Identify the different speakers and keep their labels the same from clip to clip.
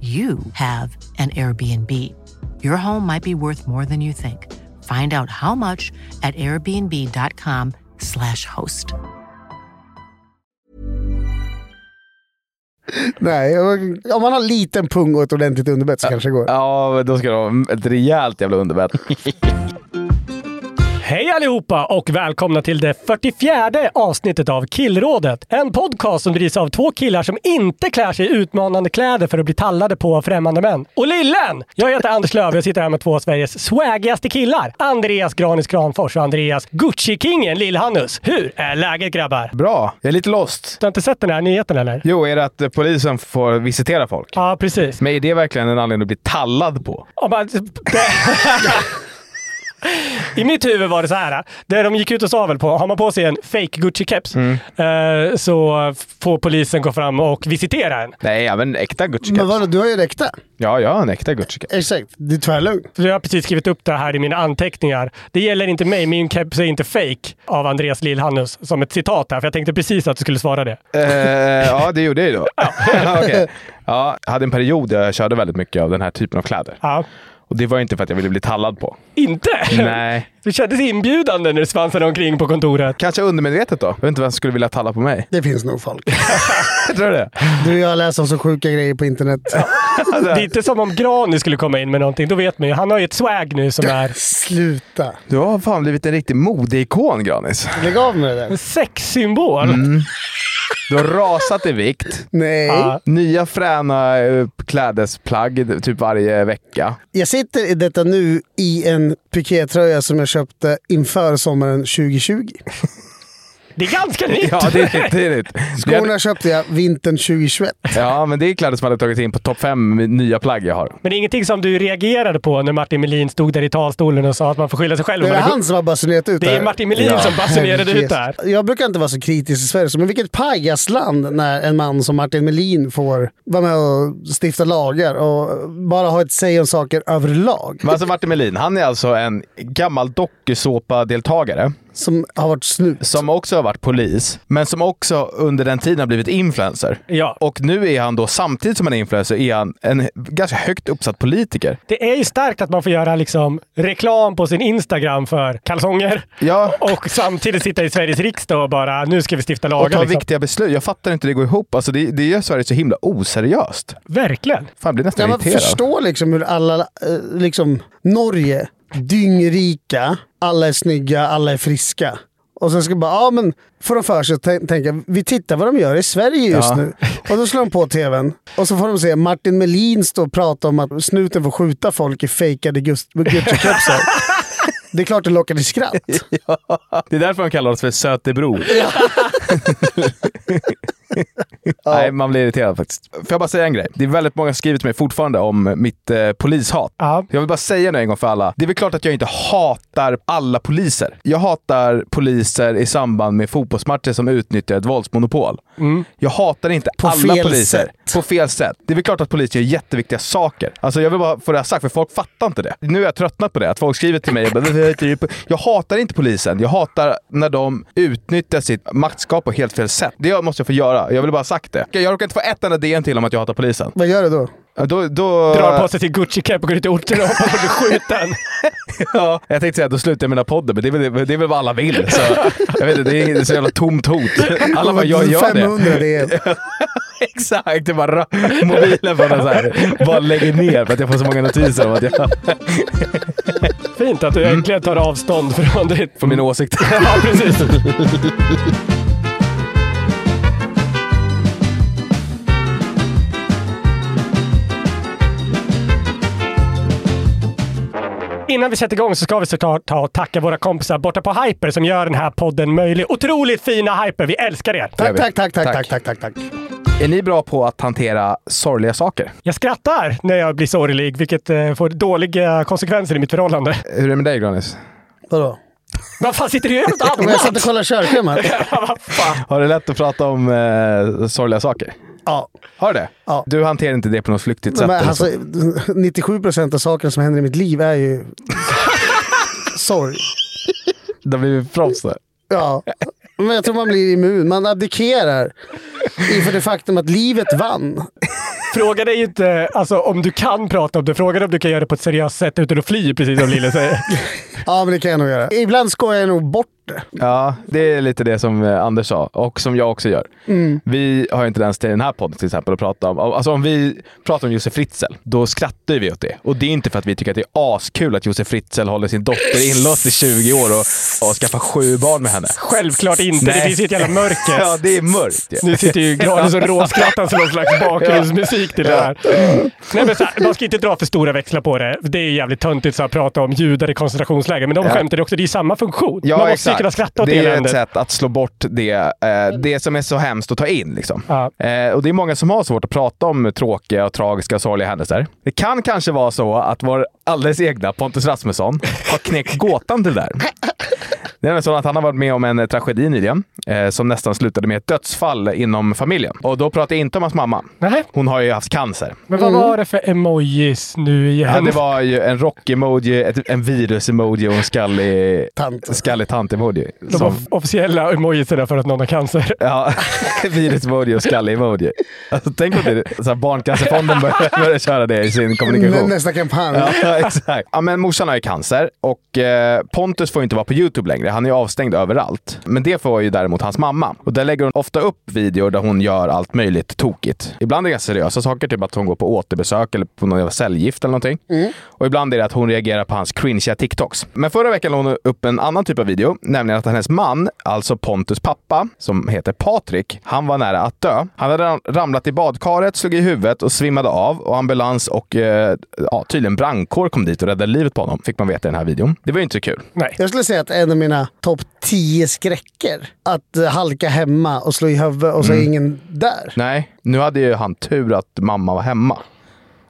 Speaker 1: you have an Airbnb. Your home might be worth more than you think. Find out how much at airbnb.com/slash host.
Speaker 2: Nej, om man har liten pung och ett ordentligt underbett så kanske det går.
Speaker 3: Ja, men då ska det vara ett rejält jävla underbett.
Speaker 4: Hej allihopa och välkomna till det 44 avsnittet av Killrådet. En podcast som drivs av två killar som inte klär sig i utmanande kläder för att bli tallade på av främmande män. Och lillen! Jag heter Anders Löf och jag sitter här med två av Sveriges swagigaste killar. Andreas Granis Kranfors och Andreas Gucci-kingen Lill-Hannus. Hur är läget grabbar?
Speaker 3: Bra. Jag är lite lost.
Speaker 4: Du har inte sett den här nyheten eller?
Speaker 3: Jo, är det att eh, polisen får visitera folk?
Speaker 4: Ja, precis.
Speaker 3: Men är det verkligen en anledning att bli tallad på?
Speaker 4: Om man, I mitt huvud var det så här. Det de gick ut och sa väl på, har man på sig en fake Gucci-keps
Speaker 3: Mm.
Speaker 4: eh, så får polisen gå fram och visitera en.
Speaker 3: Nej, även äkta gucci
Speaker 2: Men vadå, du har ju en äkta.
Speaker 3: Ja, jag har en äkta gucci
Speaker 2: Exakt, det är tvärlugnt.
Speaker 4: Så jag har precis skrivit upp det här i mina anteckningar. Det gäller inte mig, min keps är inte fake av Andreas Lillhannus som ett citat här, för jag tänkte precis att du skulle svara det.
Speaker 3: Eh, Ja, det gjorde jag ju då. Okej. Ja, jag hade en period där jag körde väldigt mycket av den här typen av kläder.
Speaker 4: Ja.
Speaker 3: Och det var inte för att jag ville bli tallad på.
Speaker 4: Inte?
Speaker 3: Nej.
Speaker 4: Du kändes inbjudande när du svansade omkring på kontoret.
Speaker 3: Kanske undermedvetet då. Jag vet inte vem som skulle vilja talla på mig.
Speaker 2: Det finns nog folk.
Speaker 3: Jag tror det.
Speaker 2: Du, jag har läst om så sjuka grejer på internet.
Speaker 3: Alltså,
Speaker 4: Det är inte som om Grani skulle komma in med någonting, då vet man ju. Han har ju ett swag nu som är
Speaker 2: Sluta.
Speaker 3: Du har fan blivit en riktig modeikon, Granis.
Speaker 2: Lägg av med det där.
Speaker 4: en sexsymbol.
Speaker 3: Mm. Du har rasat i vikt.
Speaker 2: Nej.
Speaker 4: Ja.
Speaker 3: Nya fräna eh, klädesplagg typ varje vecka.
Speaker 2: Jag sitter i detta nu i en pikétröja som jag köpte inför sommaren 2020.
Speaker 4: Det är ganska nytt!
Speaker 3: Ja, det är nytt. Det är nytt. Det är-
Speaker 2: Skorna köpte jag vintern 2021.
Speaker 3: Ja, men det är kläder som hade tagit in på topp fem nya plagg jag har.
Speaker 4: Men det är ingenting som du reagerade på när Martin Melin stod där i talstolen och sa att man får skylla sig själv.
Speaker 2: Det
Speaker 4: om
Speaker 2: är
Speaker 4: man
Speaker 2: han som har basunerat ut
Speaker 4: det är
Speaker 2: här.
Speaker 4: Martin Melin som basunerade ut det här.
Speaker 2: Jag brukar inte vara så kritisk i Sverige, men vilket pajasland när en man som Martin Melin får vara med och stifta lagar och bara ha ett säg om saker överlag.
Speaker 3: Men alltså Martin Melin, han är alltså en gammal dokusåpa-deltagare
Speaker 2: Som har varit snut.
Speaker 3: som också har varit polis, men som också under den tiden har blivit influencer.
Speaker 4: Ja.
Speaker 3: Och nu är han då, samtidigt som han är influencer, är han en ganska högt uppsatt politiker.
Speaker 4: Det är ju starkt att man får göra liksom reklam på sin Instagram för kalsonger
Speaker 3: Ja,
Speaker 4: och samtidigt sitta i Sveriges riksdag och bara nu ska vi stifta
Speaker 3: och
Speaker 4: lagar.
Speaker 3: ta
Speaker 4: Liksom.
Speaker 3: viktiga beslut. Jag fattar inte hur det går ihop. Alltså det, det gör Sverige så himla oseriöst.
Speaker 4: Verkligen.
Speaker 3: Fan, jag blir
Speaker 2: Ja,
Speaker 3: nästan
Speaker 2: man
Speaker 3: irriterad.
Speaker 2: förstår liksom hur alla, eh, liksom Norge, dyngrika, alla är snygga, alla är friska. Och sen ska bara, ja men får de för sig att tän- tänka, vi tittar vad de gör i Sverige just
Speaker 3: Ja.
Speaker 2: nu. Och då slår de på tvn. Och så får de se Martin Melin stå och prata om att snuten får skjuta folk i fejkade Gust- Gucci-kepsar. det är klart det lockar till skratt.
Speaker 3: Det är därför de kallar oss för Sötebro. Nej, man blir irriterad faktiskt. Får jag bara säga en grej? Det är väldigt många som skriver till mig fortfarande om mitt eh, polishat.
Speaker 4: Ja.
Speaker 3: Jag vill bara säga det en gång för alla. Det är väl klart att jag inte hatar alla poliser. Jag hatar poliser i samband med fotbollsmatcher som utnyttjar ett våldsmonopol. Jag hatar inte
Speaker 2: På
Speaker 3: alla
Speaker 2: fel
Speaker 3: poliser.
Speaker 2: sätt.
Speaker 3: På fel sätt. Det är väl klart att poliser gör jätteviktiga saker. Alltså jag vill bara få det här sagt, för folk fattar inte det. Nu är jag tröttnat på det, att folk skriver till mig och bara, "Vad heter du på-" Jag hatar inte polisen. Jag hatar när de utnyttjar sitt maktskap på helt fel sätt. Det måste jag få göra. Jag vill bara ha sagt det. Jag råkar inte få ett enda DN till om att jag hatar polisen.
Speaker 2: Vad gör du då?
Speaker 3: Då, då...
Speaker 4: Drar på sig till Gucci-kepp och går ut i orten och hoppas på att bli skjuten.
Speaker 3: Ja, jag tänkte säga att då slutar jag mina poddar, men det är väl, det är väl vad alla vill. Så, jag vet inte, det är så jävla tomt hot. Alla bara, jag gör
Speaker 2: 500
Speaker 3: det.
Speaker 2: det. är.
Speaker 3: Exakt, det bara ra- mobilen bara, så här, bara lägger ner för att jag får så många notiser om att jag
Speaker 4: Fint att du äntligen tar avstånd från ditt...
Speaker 3: får Mm. mina åsikter.
Speaker 4: Ja, precis. Innan vi sätter igång så ska vi såklart ta och tacka våra kompisar borta på Hyper som gör den här podden möjlig. Otroligt fina Hyper, vi älskar er!
Speaker 2: Tack, tack, tack, tack,
Speaker 3: Tack.
Speaker 2: tack, tack, tack, tack.
Speaker 3: Är ni bra på att hantera sorgliga saker?
Speaker 4: Jag skrattar när jag blir sorglig, vilket eh, får dåliga konsekvenser i mitt förhållande.
Speaker 3: Hur är det med dig Granis?
Speaker 2: Vadå?
Speaker 4: Vad fan sitter du och gör något
Speaker 2: Men jag satt och
Speaker 4: annat?
Speaker 2: kollade körschemat.
Speaker 4: Vad fan?
Speaker 3: Har du lätt att prata om eh, sorgliga saker?
Speaker 2: Ja.
Speaker 3: Har du det?
Speaker 2: Ja.
Speaker 3: Du hanterar inte det på något flyktigt sätt?
Speaker 2: Men
Speaker 3: eller
Speaker 2: alltså,
Speaker 3: så?
Speaker 2: 97 procent av sakerna som händer i mitt liv är ju sorg.
Speaker 3: Det har blivit proffs där.
Speaker 2: Ja. Men jag tror man blir immun. Man abdikerar inför det faktum att livet vann.
Speaker 4: Fråga dig inte alltså, om du kan prata om det. Fråga dig om du kan göra det på ett seriöst sätt utan att fly, precis som Lille säger.
Speaker 2: Ja, men det kan jag nog göra. Ibland skojar jag nog bort det.
Speaker 3: Ja, det är lite det som eh, Anders sa och som jag också gör.
Speaker 2: Mm.
Speaker 3: Vi har ju en tendens till den här podden till exempel att prata om, alltså om vi pratar om Josef Fritzl, då skrattar vi åt det. Och det är inte för att vi tycker att det är askul att Josef Fritzl håller sin dotter inlåst i 20 år och, och skaffar sju barn med henne.
Speaker 4: Självklart inte. Det
Speaker 3: Nej.
Speaker 4: finns ju ett jävla mörker.
Speaker 3: Ja, det är mörkt ju.
Speaker 4: Nu sitter ju Granis och råskrattar som någon slags bakgrundsmusik till det här. Nej, men så här. Man ska inte dra för stora växlar på det. Det är ju jävligt töntigt så här att prata om judar i koncentrationsläger, men de
Speaker 3: Ja.
Speaker 4: skämtar ju också. Det är ju samma funktion.
Speaker 3: Ja,
Speaker 4: Man måste ju
Speaker 3: exakt.
Speaker 4: kunna skratta åt
Speaker 3: Det är ju ett
Speaker 4: eländet.
Speaker 3: sätt att slå bort det, eh, det som är så hemskt att ta in. Liksom.
Speaker 4: Ja.
Speaker 3: Eh, och Det är många som har svårt att prata om tråkiga, och tragiska och sorgliga händelser. Det kan kanske vara så att vår alldeles egna Pontus Rasmusson har knäckt gåtan till det där. Det är nämligen så att han har varit med om en eh, tragedi nyligen eh, som nästan slutade med ett dödsfall inom familjen. Och då pratar jag inte om hans mamma.
Speaker 4: Nej,
Speaker 3: Hon har ju haft cancer.
Speaker 4: men vad var det för emojis nu igen?
Speaker 3: Mm. Ja, det var ju en rock-emoji, ett- en virus-emoji och en skallig
Speaker 2: Tant.
Speaker 3: skallig tant-emoji.
Speaker 4: de
Speaker 3: som-
Speaker 4: off- officiella emojisarna för att någon har cancer.
Speaker 3: Ja, virusmodio och skallemodio. Alltså, tänk om det så här, Barncancerfonden börjar, börjar köra det i sin kommunikation.
Speaker 2: Nästa kampanj.
Speaker 3: Ja, exakt. Ja, men morsan har ju cancer och eh, Pontus får ju inte vara på YouTube längre. Han är ju avstängd överallt. Men det får ju däremot hans mamma. Och där lägger hon ofta upp videor där hon gör allt möjligt tokigt. Ibland är det ganska seriösa saker, typ att hon går på återbesök eller på någon jävla cellgift eller någonting. Och ibland är det att hon reagerar på hans cringeiga TikToks. Men förra veckan la hon upp en annan typ av video, nämligen att hennes man, alltså Pontus pappa, som heter Patrik, han var nära att dö. Han hade ram- ramlat i badkaret, slog i huvudet och svimmade av och ambulans och eh, ja, tydligen brandkår kom dit och räddade livet på honom, fick man veta i den här videon. Det var ju inte så kul.
Speaker 4: Nej.
Speaker 2: Jag skulle säga att en av mina topp 10 skräcker. Att eh, halka hemma och slå i huvudet och så
Speaker 3: Mm.
Speaker 2: är ingen där.
Speaker 3: Nej, nu hade ju han tur att mamma var hemma.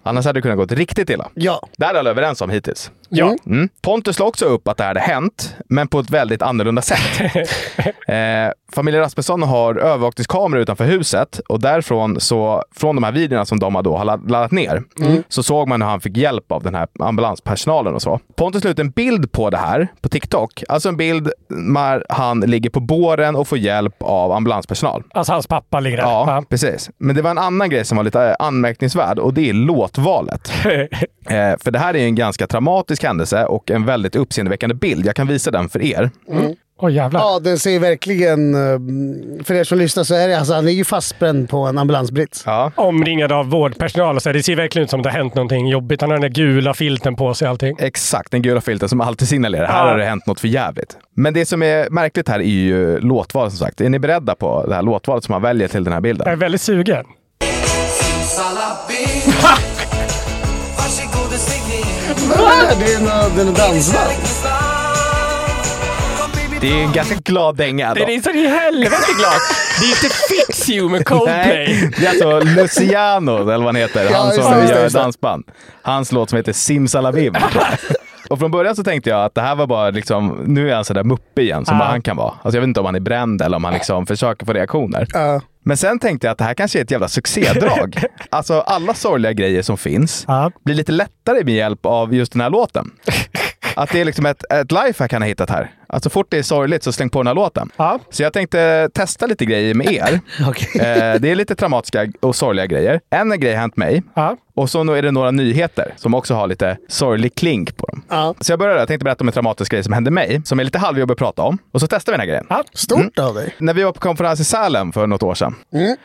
Speaker 3: Annars hade det kunnat gått riktigt illa.
Speaker 2: Ja.
Speaker 3: Det här är alla överens om hittills.
Speaker 4: Ja.
Speaker 3: Mm. Pontus la också upp att det här hade hänt, men på ett väldigt annorlunda sätt. eh, familjen Rasmusson har övervakningskameror utanför huset och därifrån, så, från de här videorna som de har då har ladd- laddat ner,
Speaker 2: Mm.
Speaker 3: så såg man hur han fick hjälp av den här ambulanspersonalen och så. Pontus la ut en bild på det här på TikTok. Alltså en bild när han ligger på båren och får hjälp av ambulanspersonal.
Speaker 4: Alltså hans pappa ligger där.
Speaker 3: Ja, precis. Men det var en annan grej som var lite eh, anmärkningsvärd och det är låtvalet. Eh, för det här är ju en ganska traumatisk händelse och en väldigt uppseendeväckande bild. Jag kan visa den för er.
Speaker 4: Åh jävlar.
Speaker 2: Ja, den ser verkligen... eh, För er som lyssnar så är det alltså, han är ju fastspänd på en ambulansbrits.
Speaker 3: Ja.
Speaker 4: Omringad av vårdpersonal och så. här. Det ser verkligen ut som det har hänt någonting jobbigt. Han har den där gula filten på sig och allting.
Speaker 3: Exakt, den gula filten som alltid signalerar här
Speaker 4: Ja.
Speaker 3: har det hänt något för jävligt. Men det som är märkligt här är ju låtvalet som sagt. Är ni beredda på det här låtvalet som man väljer till den här
Speaker 4: Jag är
Speaker 3: bilden?
Speaker 4: väldigt sugen.
Speaker 2: Det är en, den är dansband.
Speaker 3: Det är en ganska glad dänga.
Speaker 4: Det är så i helvete glad. Det är inte Fix You med Coldplay.
Speaker 3: Nej, det är alltså Luciano, eller vad han heter, han
Speaker 2: just
Speaker 3: som
Speaker 2: det, just det,
Speaker 3: gör
Speaker 2: just det.
Speaker 3: dansband. Hans låt som heter Simsalabim. Och från början så tänkte jag att det här var bara liksom, nu är han sådär muppig igen som
Speaker 4: Ja.
Speaker 3: bara han kan vara. Alltså jag vet inte om han är bränd eller om han liksom försöker få reaktioner.
Speaker 2: Ja.
Speaker 3: Men sen tänkte jag att det här kanske är ett jävla succédrag. Alltså alla sorgliga grejer som finns
Speaker 4: Ja.
Speaker 3: blir lite lättare med hjälp av just den här låten. Att det är liksom ett, ett lifehack han har hittat här. Att så fort det är sorgligt så släng på den här låten.
Speaker 4: Ja.
Speaker 3: Så jag tänkte testa lite grejer med er. Eh, det är lite traumatiska och sorgliga grejer. En grej har hänt mig.
Speaker 4: Ja.
Speaker 3: Och så nu är det några nyheter som också har lite sorglig klink på dem.
Speaker 2: Ja.
Speaker 3: Så jag började, jag tänkte berätta om en traumatisk grej som hände mig, som är lite halvjobbig att prata om. Och så testar vi den här grejen. Mm.
Speaker 4: Ja.
Speaker 2: Stort av dig. Mm.
Speaker 3: När vi var på konferens i Sälen för något år sedan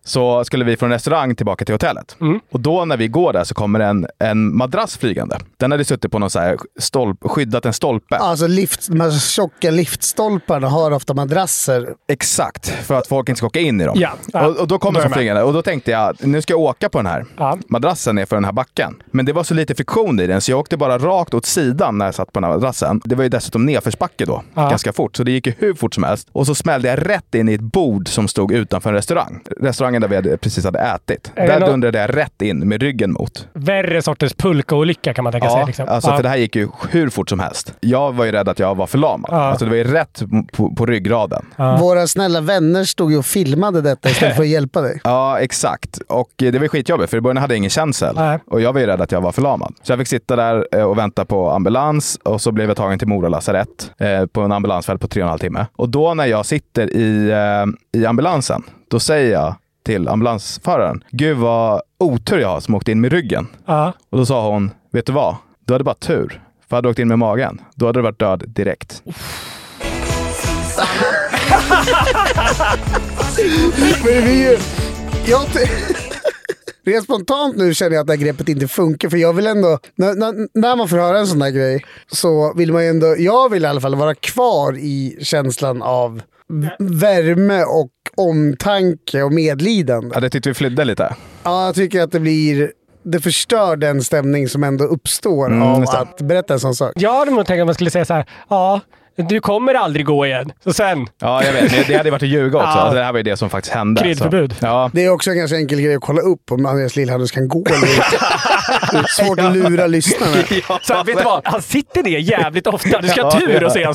Speaker 3: så skulle vi från restaurang tillbaka till hotellet. Och då när vi går där så kommer en, en madrass flygande. Den hade suttit på någon så här stolp, skyddat en stolpe.
Speaker 2: Alltså lift, de här tjocka liftstolparna har ofta madrasser.
Speaker 3: Exakt, för att folk inte ska åka in i dem.
Speaker 4: Ja, ja.
Speaker 3: Och, och då kom
Speaker 4: Då är
Speaker 3: den
Speaker 4: jag
Speaker 3: som
Speaker 4: med.
Speaker 3: flygande och då tänkte jag, nu ska jag åka på den här
Speaker 4: Ja.
Speaker 3: madrassen nerför den här backen. Men det var så lite friktion i den så jag åkte bara rakt åt sidan när jag satt på den här madrassen. Det var ju dessutom nedförsbacke då,
Speaker 4: Ja.
Speaker 3: ganska fort. Så det gick ju hur fort som helst. Och så smällde jag rätt in i ett bord som stod utanför en restaurang. Restaurangen där vi hade precis hade ätit.
Speaker 4: Är det
Speaker 3: där
Speaker 4: nå-
Speaker 3: dundrade jag rätt in med ryggen mot.
Speaker 4: Värre sorters pulkaolycka kan man tänka sig. Liksom.
Speaker 3: alltså
Speaker 4: Ja.
Speaker 3: för det här gick ju hur fort som helst. Jag var ju rädd att jag var förlamad.
Speaker 4: Ja.
Speaker 3: Alltså det var ju rätt på, på ryggraden.
Speaker 2: Våra snälla vänner stod ju och filmade detta istället för att hjälpa dig.
Speaker 3: Ja, exakt. Och eh, det var skitjobbigt, för i början hade jag ingen känsel.
Speaker 4: Nej.
Speaker 3: Och jag var ju rädd att jag var förlamad. Så jag fick sitta där eh, och vänta på ambulans och så blev jag tagen till Mora lasarett eh, på en ambulansfält på tre och en halv timme. Och då när jag sitter i, eh, i ambulansen, då säger jag till ambulansföraren, gud vad otur jag har som åkte in med ryggen.
Speaker 4: Ja.
Speaker 3: Och då sa hon, vet du vad? Du hade bara tur. För hade du åkt in med magen, då hade du varit död direkt.
Speaker 2: Men vi är ju... Jag t- Rent spontant nu känner jag att det här greppet inte funkar, för jag vill ändå... När, när, när man får höra en sån här grej så vill man ju ändå... Jag vill i alla fall vara kvar i känslan av v- värme och omtanke och medlidande.
Speaker 3: Ja, det tyckte vi flydde lite.
Speaker 2: Ja, jag tycker att det blir... Det förstör den stämning som ändå uppstår
Speaker 3: Mm,
Speaker 2: av
Speaker 3: just det.
Speaker 2: att berätta en sån sak.
Speaker 4: Jag hade nog tänkt att man skulle säga så här. Ja, du kommer aldrig gå igen. Så sen.
Speaker 3: Ja, jag vet. Det- Det hade ju varit att ljuga också.
Speaker 4: Ja.
Speaker 3: Alltså, Det här var ju det som faktiskt hände. så-
Speaker 4: Kryddförbud.
Speaker 3: Ja,
Speaker 2: Det är också en ganska enkel grej att kolla upp om Andreas Lillhandels kan gå eller inte. Det är svårt att lura lyssnarna.
Speaker 4: Så här, vet du vad? Han sitter ner jävligt ofta. Du ska ha tur att se han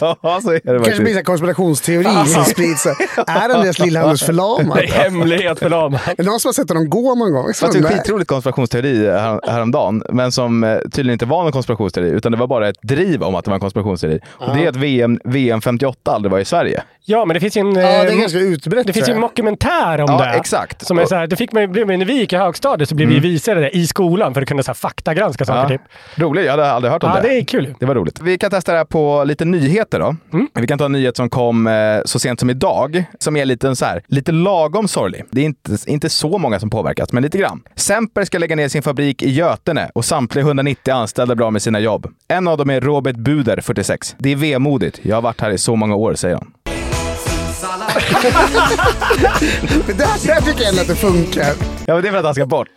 Speaker 3: Ja, så är det
Speaker 2: kanske blir
Speaker 3: faktiskt.
Speaker 2: en konspirationsteori som sprids. så här. Är Andreas Lillhandels förlamad?
Speaker 4: Det är hemlighet för dem.
Speaker 2: Är det någon som har sett honom gå någon gång?
Speaker 3: Det var en
Speaker 2: Nej.
Speaker 3: skitrolig konspirationsteori eh, här, häromdagen, men som eh, tydligen inte var någon konspirationsteori, utan det var bara ett driv om att det var en konspirationsteori. Och det är att VM, VM 58 aldrig var i Sverige.
Speaker 4: Ja, men det finns ju en...
Speaker 2: Ja, det
Speaker 4: eh,
Speaker 2: är ganska utbrett.
Speaker 4: Det finns ju
Speaker 2: tror
Speaker 4: en
Speaker 2: jag.
Speaker 4: mockumentär om
Speaker 3: Ja,
Speaker 4: det.
Speaker 3: exakt. Mm.
Speaker 4: Som är så här, då fick man, ju- blev man, när vi gick i högstadiet så blev vi visade det i skolan för att kunna så här, faktagranska saker.
Speaker 3: Ja.
Speaker 4: Typ.
Speaker 3: Roligt, jag hade aldrig hört om
Speaker 4: Ja,
Speaker 3: det.
Speaker 4: det är kul. Mm.
Speaker 3: Det var roligt. Vi kan testa det här på lite nyheter då. Vi kan ta en nyhet som kom eh, så sent som idag, som är lite, så här, lite lagom sorglig. Det är inte, inte så många som påverkas, men lite grann. Semper ska lägga ner sin fabrik i Götene och samtliga 190 anställda blir av med sina jobb. En av dem är Robert Buder, 46. Det är vemodigt. Jag har varit här i så många år, säger han.
Speaker 2: Men där, där tycker jag ändå att det funkar.
Speaker 3: Ja, men det är för att han ska bort.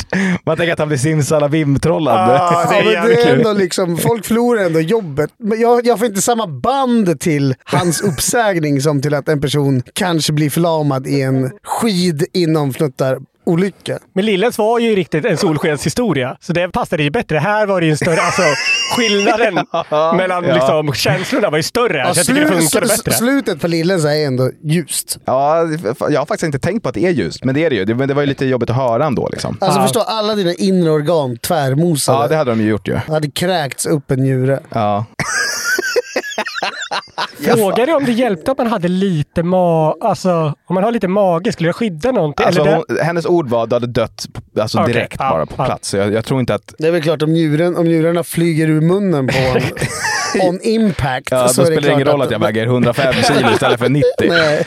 Speaker 3: Man tänker att han blir simsalabim-trollande.
Speaker 4: Ja, det är
Speaker 2: Ah, Ja, men
Speaker 4: jävligt
Speaker 2: det är
Speaker 4: kul.
Speaker 2: ändå liksom, folk förlorar ändå jobbet. Men jag, jag får inte samma band till hans uppsägning som till att en person kanske blir förlamad i en skid inom fnuttar olycka.
Speaker 4: Men Lillens var ju riktigt en solskenshistoria, så det passade ju bättre. Här var det ju en större... Alltså, skillnaden mellan
Speaker 3: ja.
Speaker 4: liksom, känslorna var ju större. så jag tycker det
Speaker 2: slu-
Speaker 4: funkade
Speaker 2: sl-
Speaker 4: bättre.
Speaker 2: slutet på Lillens är ändå ljust.
Speaker 3: Ja, jag har faktiskt inte tänkt på att det är ljust, men det är det ju. Det, men det var ju lite jobbigt att höra ändå. Liksom.
Speaker 2: Alltså
Speaker 4: Ja.
Speaker 2: förstå, alla dina inre organ tvärmosade.
Speaker 3: Ja, det hade de ju gjort ju.
Speaker 2: hade kräkts upp en njure.
Speaker 3: Ja.
Speaker 4: Frågar du om det hjälpte att man hade lite ma... Alltså, om man har lite mage, skulle det skydda någonting?
Speaker 3: Alltså,
Speaker 4: Eller det...
Speaker 3: hon, hennes ord var att du hade dött på- alltså,
Speaker 4: Okej,
Speaker 3: direkt
Speaker 4: ja,
Speaker 3: bara på
Speaker 4: ja.
Speaker 3: plats. Så jag, jag tror inte att...
Speaker 2: Det är väl klart om, njuren, om njurarna flyger ur munnen på honom on impact
Speaker 3: Ja, då
Speaker 2: så är
Speaker 3: spelar det ingen
Speaker 2: klart
Speaker 3: roll att jag väger 105 kilo istället för 90.
Speaker 2: Nej.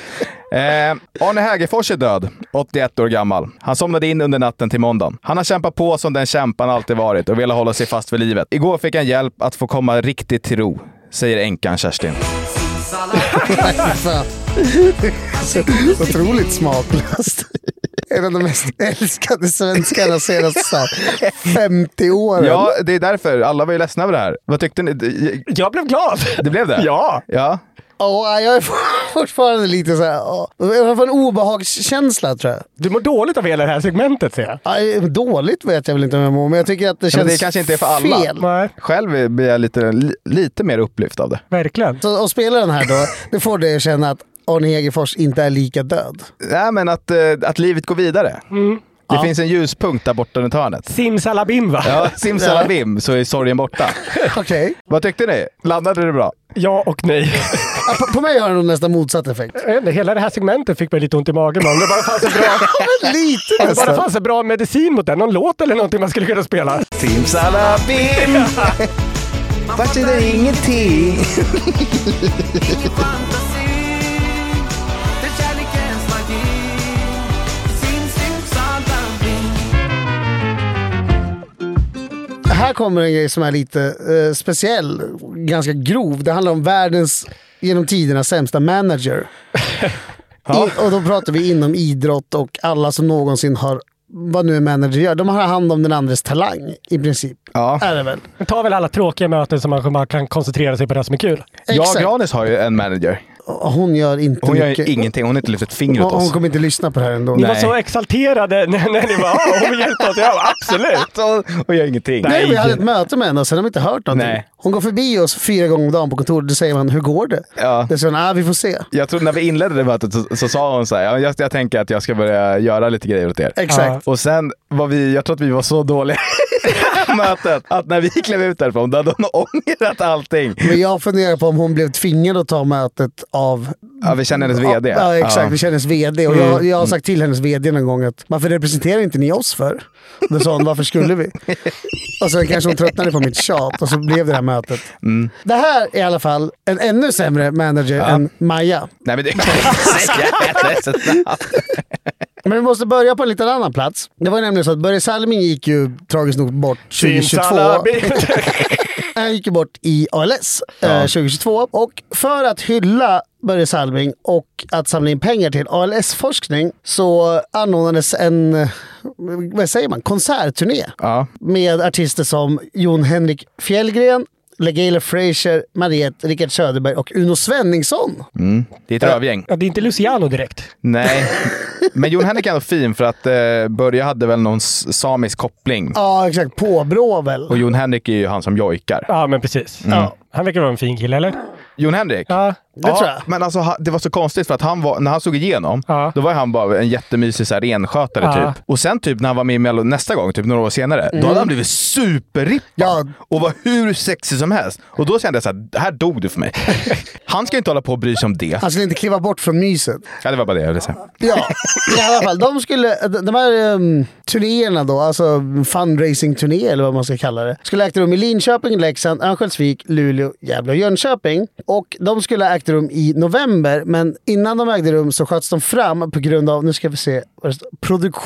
Speaker 3: Eh, Arne Hägerfors är död, 81 år gammal. Han somnade in under natten till måndagen. Han har kämpat på som den kämpan alltid varit och velat hålla sig fast vid livet. Igår fick han hjälp att få komma riktigt till ro, säger änkan Kerstin.
Speaker 2: Fan. Så otroligt smaklöst. En av de mest älskade svenskarna de senaste så här 50 åren.
Speaker 3: Ja, det är därför. Alla var ju ledsna över det här. Vad tyckte ni?
Speaker 4: Jag blev glad!
Speaker 3: Det blev det?
Speaker 4: Ja!
Speaker 3: Ja.
Speaker 2: Och jag är fortfarande lite så här... åh. Jag får en obehagskänsla tror jag.
Speaker 4: Du mår dåligt av hela det här segmentet ser jag.
Speaker 2: Aj, Dåligt vet jag väl inte om jag mår, men jag tycker att det
Speaker 3: Men
Speaker 2: känns
Speaker 3: det kanske inte är för alla.
Speaker 2: fel.
Speaker 4: Nej,
Speaker 3: Själv blir jag lite, lite mer upplyft av det.
Speaker 4: verkligen.
Speaker 2: Så att spela den här då, det får dig att känna att Arne Hegerfors inte är lika död.
Speaker 3: Nej, men att, eh, att livet går vidare. Det finns en ljuspunkt där borta runt hörnet.
Speaker 4: Mm. Simsalabim va?
Speaker 3: Ja, simsalabim så är sorgen borta.
Speaker 2: Okej.
Speaker 3: Vad tyckte ni? Landade det bra?
Speaker 4: Ja och nej.
Speaker 2: Ja, på, på mig har den nog nästan motsatt effekt.
Speaker 4: Jag vet inte, Hela det här segmentet fick mig lite ont i magen. Man. Det bara fanns en bra,
Speaker 2: Lite
Speaker 4: det bara
Speaker 2: nästan.
Speaker 4: fanns en bra medicin mot den. Någon låt eller någonting man skulle kunna spela.
Speaker 3: Simsalabim!
Speaker 2: Vart är det ingenting? Här kommer en grej som är lite eh, speciell, ganska grov. Det handlar om världens genom tiderna sämsta manager. I, och då pratar vi inom idrott och alla som någonsin har, vad nu en manager gör, de har hand om den andres talang i princip.
Speaker 3: Ja.
Speaker 2: Är det väl?
Speaker 4: Det tar väl alla tråkiga möten så man man kan koncentrera sig på det som är kul.
Speaker 3: Jag
Speaker 2: Exakt.
Speaker 3: Granis har ju en manager.
Speaker 2: Hon gör inte
Speaker 3: Hon gör
Speaker 2: mycket.
Speaker 3: ju ingenting. Hon har inte lyft ett finger åt
Speaker 2: hon, hon
Speaker 3: oss.
Speaker 2: kommer inte lyssna på det här ändå.
Speaker 4: Ni var
Speaker 3: Nej.
Speaker 4: så exalterade när, när ni bara "Ah, hon vill hjälpa oss. Jag bara, absolut!
Speaker 3: Hon- Hon gör ingenting.
Speaker 2: Nej, vi hade ett möte med henne och sen har vi inte hört någonting.
Speaker 3: Nej.
Speaker 2: Hon går förbi oss fyra gånger om dagen på kontoret. Då säger man, hur går det?
Speaker 3: Ja.
Speaker 2: Då säger hon, ah, vi får se.
Speaker 3: Jag tror när vi inledde det mötet så, så sa hon så här, "Ja, jag, jag tänker att jag ska börja göra lite grejer åt er.
Speaker 2: Exakt.
Speaker 3: Och sen var vi, jag tror att vi var så dåliga i mötet att när vi klev ut därifrån då hade hon ångrat allting.
Speaker 2: Men jag funderar på om hon blev tvingad att ta mötet av...
Speaker 3: Ja, vi känner hennes VD.
Speaker 2: Ja, exakt. Vi
Speaker 3: Ja. Mm.
Speaker 2: känner hennes VD. Och jag, jag har sagt till hennes VD någon gång att varför representerar inte ni oss för? Då sa hon, varför skulle vi? Och sen kanske hon tröttnade på mitt tjat och så blev det här mötet.
Speaker 3: Mm.
Speaker 2: Det här är i alla fall en ännu sämre manager än Maja.
Speaker 3: Nej men det är
Speaker 2: Men vi måste börja på en liten annan plats. Det var ju nämligen så att Börje Salming gick ju tragiskt nog bort 2022. Han Eh, gick ju bort i ALS eh, 2022. Och för att hylla Börje Salming och att samla in pengar till ALS-forskning så anordnades en, eh, vad säger man, konsertturné
Speaker 3: Ja.
Speaker 2: med artister som Jon Henrik Fjällgren, LeGayle Frazier, Mariette, Rickard Söderberg och Uno Svenningsson.
Speaker 3: Det är ett rövgäng.
Speaker 4: Ja, det är inte Luciano direkt.
Speaker 3: mm. Nej. Men Jon Henrik är ändå fin för att eh, Börje hade väl någon s- samisk koppling.
Speaker 2: Ja, exakt. Påbrå väl.
Speaker 3: Och Jon Henrik är ju han som jojkar.
Speaker 4: Ja, men precis. Ja. Han verkar vara en fin kille, eller?
Speaker 3: Mm. Jon Henrik?
Speaker 4: Ja.
Speaker 2: Det tror jag.
Speaker 3: Men alltså, ha- det var så konstigt för att han var, när han såg igenom,
Speaker 4: Ja.
Speaker 3: då var han bara en jättemysig så här, renskötare
Speaker 4: Ja.
Speaker 3: typ. Och sen typ när han var med i Mello nästa gång, typ några år senare, då hade han blivit superrippad
Speaker 2: Mm. Ja.
Speaker 3: och var hur sexig som helst. Och då kände jag så här, "Det här dog du för mig. han ska ju inte hålla på och bry sig om det.
Speaker 2: Han skulle inte kliva bort från myset.
Speaker 3: Ja, det var bara det jag ville säga.
Speaker 2: Ja, i alla fall. De, skulle, de här um, turnéerna då, alltså fundraising-turné eller vad man ska kalla det, skulle ha ägt rum i Linköping, Leksand, Örnsköldsvik, Luleå, Gävle och Jönköping. Och de skulle ha ägt rum i november, men innan de ägde rum så sköts de fram på grund av, nu ska vi se, vad det står,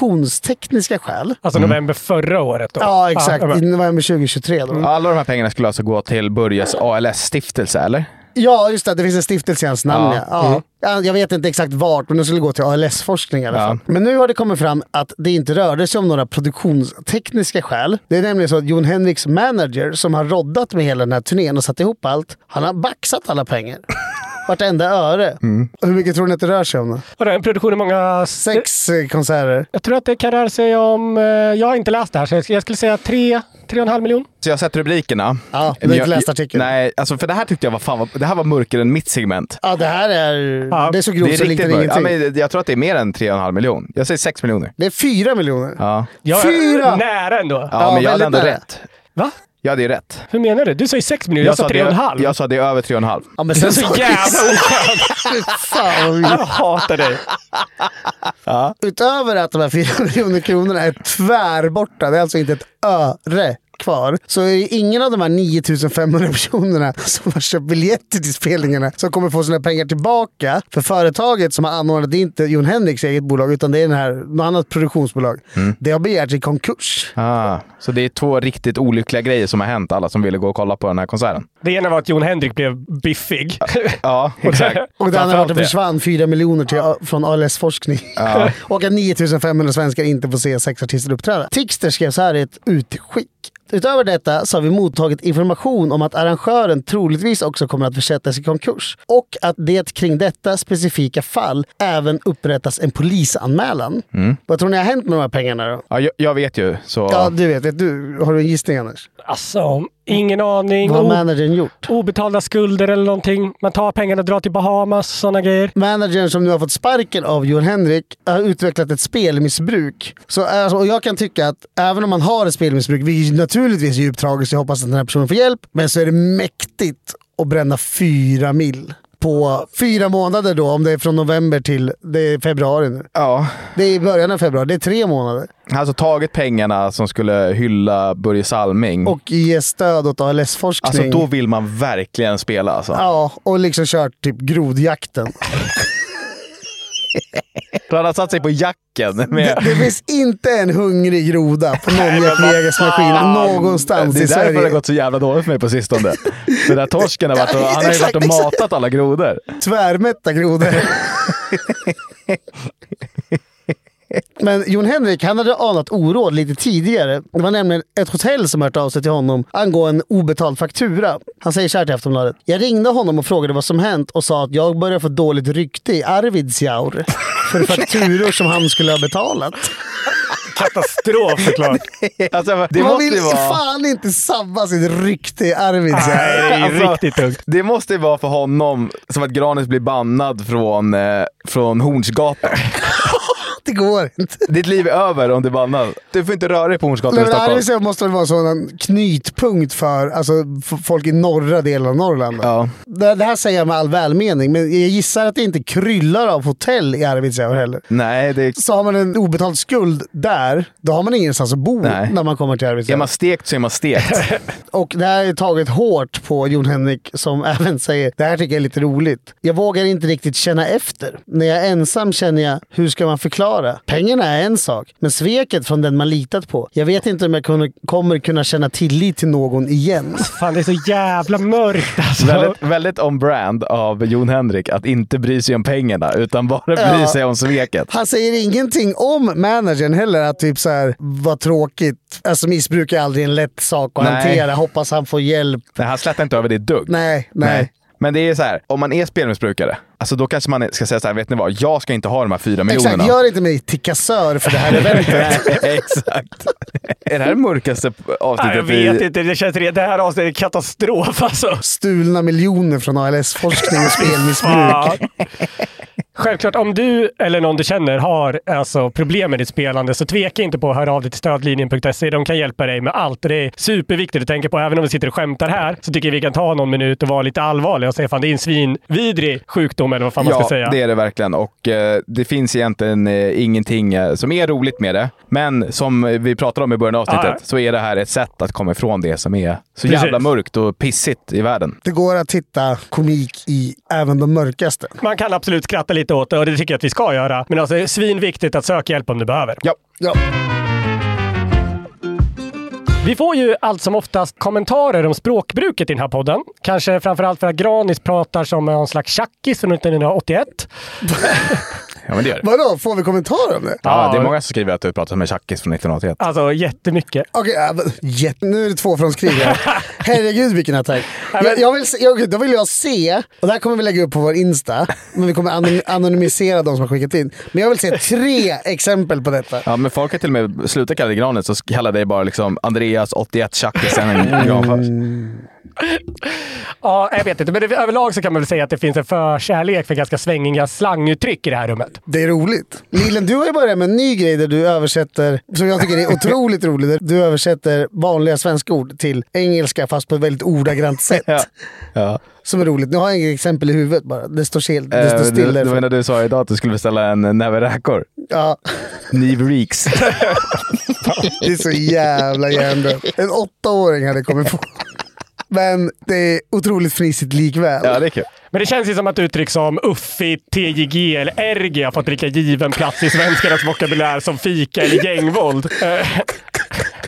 Speaker 2: produktionstekniska skäl.
Speaker 4: Alltså
Speaker 3: Mm.
Speaker 4: november förra året då.
Speaker 2: Ja, exakt. Mm.
Speaker 4: men-
Speaker 2: I november 2023. Då.
Speaker 3: Alla de här pengarna skulle alltså gå till Börjes ALS-stiftelse, eller?
Speaker 2: Ja, just det. Det finns en stiftelse i hans namn. Ja.
Speaker 3: Ja. Mm.
Speaker 2: Ja. Ja, Jag vet inte exakt vart, men det skulle gå till ALS-forskning i alla fall. Men nu har det kommit fram att det inte rörde sig om några produktionstekniska skäl. Det är nämligen så att Jon Henriks manager, som har roddat med hela den här turnén och satt ihop allt, han har baxat alla pengar. Vartenda öre.
Speaker 3: Mm.
Speaker 2: Och Hur mycket tror ni att det rör sig om? då?
Speaker 4: Och den produktionen många...
Speaker 2: Sex eh, konserter.
Speaker 4: Jag tror att det kan röra sig om... eh, Jag har inte läst det här, så jag- jag skulle säga tre, tre och en halv miljon.
Speaker 3: Så jag har sett rubrikerna.
Speaker 2: Ja, du har
Speaker 3: Men
Speaker 2: inte
Speaker 3: jag-
Speaker 2: läst artikeln.
Speaker 3: Nej, alltså för det här tyckte jag var fan, vad- det här var mörkare än mitt segment.
Speaker 2: Ja, det här är,
Speaker 4: Ja,
Speaker 2: det är så grovt
Speaker 3: det är
Speaker 2: så
Speaker 3: riktigt
Speaker 2: liknar
Speaker 3: mörkt.
Speaker 2: ingenting.
Speaker 3: ja, men Jag tror att det är mer än 3,5 miljoner. Jag säger 6 miljoner.
Speaker 2: Det är fyra miljoner.
Speaker 3: Ja.
Speaker 4: Jag är
Speaker 2: Fyra!
Speaker 4: Nära ändå.
Speaker 3: Ja,
Speaker 2: Ja,
Speaker 3: men jag hade
Speaker 2: väldigt
Speaker 3: ändå
Speaker 2: nära.
Speaker 3: rätt.
Speaker 4: Va?
Speaker 3: Jag hade ju rätt.
Speaker 4: Hur menar du? Du sa ju sex miljoner, jag, sa
Speaker 3: att
Speaker 4: tre och en
Speaker 3: det-
Speaker 4: halv.
Speaker 3: Jag sa det är över 3,5.
Speaker 2: Ja, men
Speaker 4: Det är
Speaker 2: sen
Speaker 4: så jävla oskönt.
Speaker 2: Fan, vad
Speaker 4: Jag hatar dig.
Speaker 2: Utöver att de här 4 miljoner kronorna är tvärborta, det är alltså inte ett öre kvar, så är det ingen av de här 9500 personerna som har köpt biljetter till spelningarna som kommer få sina pengar tillbaka. För företaget som har anordnat, det är inte Jon Henriks eget bolag utan det är den här, något annat produktionsbolag.
Speaker 4: Mm.
Speaker 2: Det har begärt sig konkurs.
Speaker 3: Ah, så det är två riktigt olyckliga grejer som har hänt, alla som ville gå och kolla på den här konserten.
Speaker 4: Det ena var att Jon Henrik blev biffig.
Speaker 3: Ja, exakt.
Speaker 2: Och det andra var att det
Speaker 3: Framförallt
Speaker 2: försvann 4 miljoner till, från ALS-forskning. och att 9500 svenskar inte får se sex artister uppträda. Tixter skrev så här i ett utskick. Utöver detta så har vi mottagit information om att arrangören troligtvis också kommer att försättas i konkurs. Och att det kring detta specifika fall även upprättas en polisanmälan. Vad tror ni har hänt med de här pengarna då?
Speaker 3: Mm. Ja, jag, jag vet ju, så...
Speaker 2: Ja, du vet, vet du, har du en gissning annars?
Speaker 4: Alltså, ingen aning.
Speaker 2: Vad har
Speaker 4: O-
Speaker 2: managern gjort?
Speaker 4: Obetalda skulder eller någonting. Man tar pengarna och drar till Bahamas, sådana grejer.
Speaker 2: managern som nu har fått sparken av Jon Henrik har utvecklat ett spelmissbruk. Så, alltså, och jag kan tycka att även om man har ett spelmissbruk, vilket ju naturligtvis är djupt tragiskt, jag hoppas att den här personen får hjälp, men så är det mäktigt att bränna fyra mil på fyra månader då, om det är från november till det är februari nu.
Speaker 3: Ja.
Speaker 2: Det är i början av februari, det är tre månader.
Speaker 3: Alltså tagit pengarna som skulle hylla Börje Salming.
Speaker 2: Och ge stöd åt ALS-forskning.
Speaker 3: alltså då vill man verkligen spela alltså.
Speaker 2: Ja, och liksom kört typ grodjakten.
Speaker 3: Då hade han satt sig på jacken. Med...
Speaker 2: Det finns inte en hungrig groda på någon jaktjägares maskin någonstans
Speaker 3: Det är
Speaker 2: i
Speaker 3: därför
Speaker 2: Sverige.
Speaker 3: det har gått så jävla dåligt för mig på sistone. Den där torsken har varit och, han har ju varit och
Speaker 2: Exakt.
Speaker 3: matat alla grodor.
Speaker 2: Tvärmätta grodor. Men Jon Henrik, han hade anat oråd lite tidigare. Det var nämligen ett hotell som hört av sig till honom angående en obetald faktura. Han säger så här till Aftonbladet. Jag ringde honom och frågade vad som hänt och sa att jag börjar få dåligt rykte i Arvidsjaur för fakturor som han skulle ha betalat.
Speaker 4: Katastrof såklart.
Speaker 3: Alltså, det
Speaker 2: Man
Speaker 3: måste
Speaker 2: vill
Speaker 3: ju vara...
Speaker 2: fan inte sabba sitt rykte i Arvidsjaur.
Speaker 4: Nej,
Speaker 3: Alltså-
Speaker 4: riktigt tungt.
Speaker 3: Det måste ju vara för honom som att Granis blir bannad från, eh, från Hornsgatan.
Speaker 2: Det går inte.
Speaker 3: Ditt liv är över om du är bannad. Du får inte röra dig på Hornsgatan i
Speaker 2: Men
Speaker 3: Stockholm.
Speaker 2: Arvidsjaur måste väl vara en sådan knytpunkt för alltså, f- folk i norra delen av Norrland.
Speaker 3: Ja.
Speaker 2: Det, det här säger jag med all välmening, men jag gissar att det inte kryllar av hotell i Arvidsjaur heller.
Speaker 3: Nej, det är...
Speaker 2: Så har man en obetald skuld där, då har man ingenstans att bo
Speaker 3: Nej.
Speaker 2: när man kommer till
Speaker 3: Är
Speaker 2: Arvidsjaur.
Speaker 3: man stekt så är man stekt.
Speaker 2: Och det här är taget hårt på Jon Henrik som även säger det här tycker jag är lite roligt. Jag vågar inte riktigt känna efter. När jag är ensam känner jag, hur ska man förklara? Pengarna är en sak, men sveket från den man litat på. Jag vet inte om jag kunde, kommer kunna känna tillit till någon igen.
Speaker 4: Fan, det är så jävla mörkt alltså.
Speaker 3: Väldigt, väldigt on-brand av Jon Henrik att inte bry sig om pengarna utan bara bry
Speaker 2: Ja.
Speaker 3: sig om sveket.
Speaker 2: Han säger ingenting om managern heller. Att typ så här, vad tråkigt. Alltså missbruk är aldrig en lätt sak att
Speaker 3: Nej.
Speaker 2: hantera. Hoppas han får hjälp.
Speaker 3: Nej, han slätar inte över det ett dugg.
Speaker 2: Nej, nej.
Speaker 3: Men det är så här, om man är spelmissbrukare, alltså då kanske man ska säga så här, vet ni vad? Jag ska inte ha de här fyra miljonerna.
Speaker 2: Exakt, gör inte mig till kassör för det här eventet.
Speaker 3: Exakt. Är det här det mörkaste
Speaker 4: Nej, jag
Speaker 3: avsnittet
Speaker 4: vet
Speaker 3: i...
Speaker 4: inte. Det, känns, re- det här avsnittet är katastrof alltså.
Speaker 2: Stulna miljoner från ALS-forskning och spelmissbruk.
Speaker 4: Fan. Självklart, om du eller någon du känner har alltså, problem med ditt spelande så tveka inte på att höra av dig till stödlinjen.se. De kan hjälpa dig med allt. Det är superviktigt att tänka på. Även om vi sitter och skämtar här så tycker jag vi kan ta någon minut och vara lite allvarliga och säga fan det är en svinvidrig sjukdom eller vad fan man
Speaker 3: Ja,
Speaker 4: ska säga.
Speaker 3: det är det verkligen. Och eh, det finns egentligen eh, ingenting eh, som är roligt med det. Men som eh, vi pratade om i början av avsnittet
Speaker 4: Ja, ja.
Speaker 3: så är det här ett sätt att komma ifrån det som är så
Speaker 4: Precis.
Speaker 3: jävla mörkt och pissigt i världen.
Speaker 2: Det går att hitta komik i även de mörkaste.
Speaker 4: Man kan absolut skratta lite åt det och det tycker jag att vi ska göra. Men alltså, det är svinviktigt att söka hjälp om du behöver.
Speaker 3: Ja.
Speaker 2: Ja.
Speaker 4: Vi får ju allt som oftast kommentarer om språkbruket i den här podden. Kanske framförallt för att Granis pratar som någon slags tjackis från 1981.
Speaker 3: ja, men det gör det.
Speaker 2: Vadå, får vi kommentarer om det?
Speaker 3: Ja, det är många som skriver att du pratar med tjackis från 1981.
Speaker 4: Alltså jättemycket.
Speaker 2: Okej, ja, men jätte- nu är det tvåfrontskrig här. Herregud vilken attack. Jag, jag vill, se- jag, då vill jag se, och det här kommer vi lägga upp på vår Insta, men vi kommer anon- anonymisera de som har skickat in. Men jag vill se tre exempel på detta.
Speaker 3: Ja, men folk har till och med slutat kalla dig Granet, så kallar dig bara liksom Andreas 81 tjackisen
Speaker 2: Mm.
Speaker 3: en gång först.
Speaker 4: Ja, jag vet inte. Men det, överlag så kan man väl säga att det finns en förkärlek för ganska svängiga slanguttryck i det här rummet.
Speaker 2: Det är roligt. Lillen, du har ju börjat med en ny grej där du översätter, som jag tycker är otroligt roligt, där du översätter vanliga svenska ord till engelska fast på ett väldigt ordagrant sätt.
Speaker 3: Ja.
Speaker 2: Som är roligt. Nu har jag inget exempel i huvudet bara. Det står, still, det
Speaker 3: Eh,
Speaker 2: står
Speaker 3: Det,
Speaker 2: still
Speaker 3: det var
Speaker 2: där.
Speaker 3: när du sa idag att du skulle beställa en näveräkor.
Speaker 2: Ja.
Speaker 3: Nivreeks.
Speaker 2: Det är så jävla hjärndött. En åttaåring hade kommit på. Men det är otroligt fnissigt likväl.
Speaker 3: Ja, det är kul.
Speaker 4: Men det känns ju som att uttryck som Uffi, TJG eller RG har fått lika given plats i svenskarnas vokabulär som fika eller gängvåld. Eh,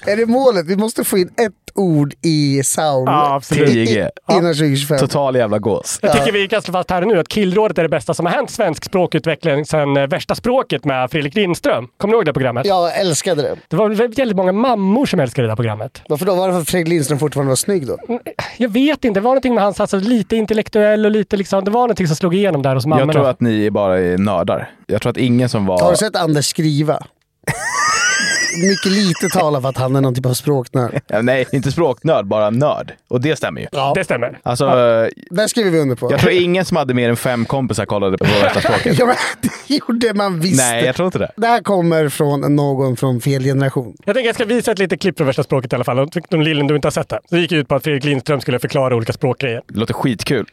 Speaker 2: Är det målet? Vi måste få in ett ord i sound
Speaker 4: Ja, absolut.
Speaker 2: I,
Speaker 3: 10G.
Speaker 2: innan 2025.
Speaker 3: Total jävla gås.
Speaker 4: Jag tycker vi kan slå fast här och nu att Killrådet är det bästa som har hänt svensk språkutveckling sedan eh, Värsta språket med Fredrik Lindström. Kommer ni ihåg det programmet?
Speaker 2: Jag älskade det.
Speaker 4: Alltså- Det var väl väldigt många mammor som älskade det där programmet.
Speaker 2: Varför då? Varför Fredrik Lindström fortfarande var snygg då?
Speaker 4: Mm, Jag vet inte, det var någonting med hans, alltså lite intellektuell och lite liksom, det var någonting som slog igenom där hos mammorna.
Speaker 3: Jag tror att ni bara är nördar. Jag tror att ingen som
Speaker 2: Har
Speaker 3: var...
Speaker 2: du sett Anders skriva? mycket lite talar för att han är någon typ av språknörd.
Speaker 3: Ja, nej, inte språknörd, bara nörd. Och det stämmer ju.
Speaker 4: Det stämmer.
Speaker 3: Alltså, eh,
Speaker 2: Där skriver vi under på.
Speaker 3: jag tror ingen som hade mer än fem kompisar kollade på Rätta språket.
Speaker 2: Ja, men, det gjorde man visst.
Speaker 3: Nej, jag tror inte det.
Speaker 2: Det här kommer från någon från fel generation.
Speaker 4: Jag tänker jag ska visa ett litet klipp från värsta språket i alla fall. De- De lillen du inte har sett det. Det gick ut på att Fredrik Lindström skulle förklara olika språkgrejer.
Speaker 3: Det låter skitkul.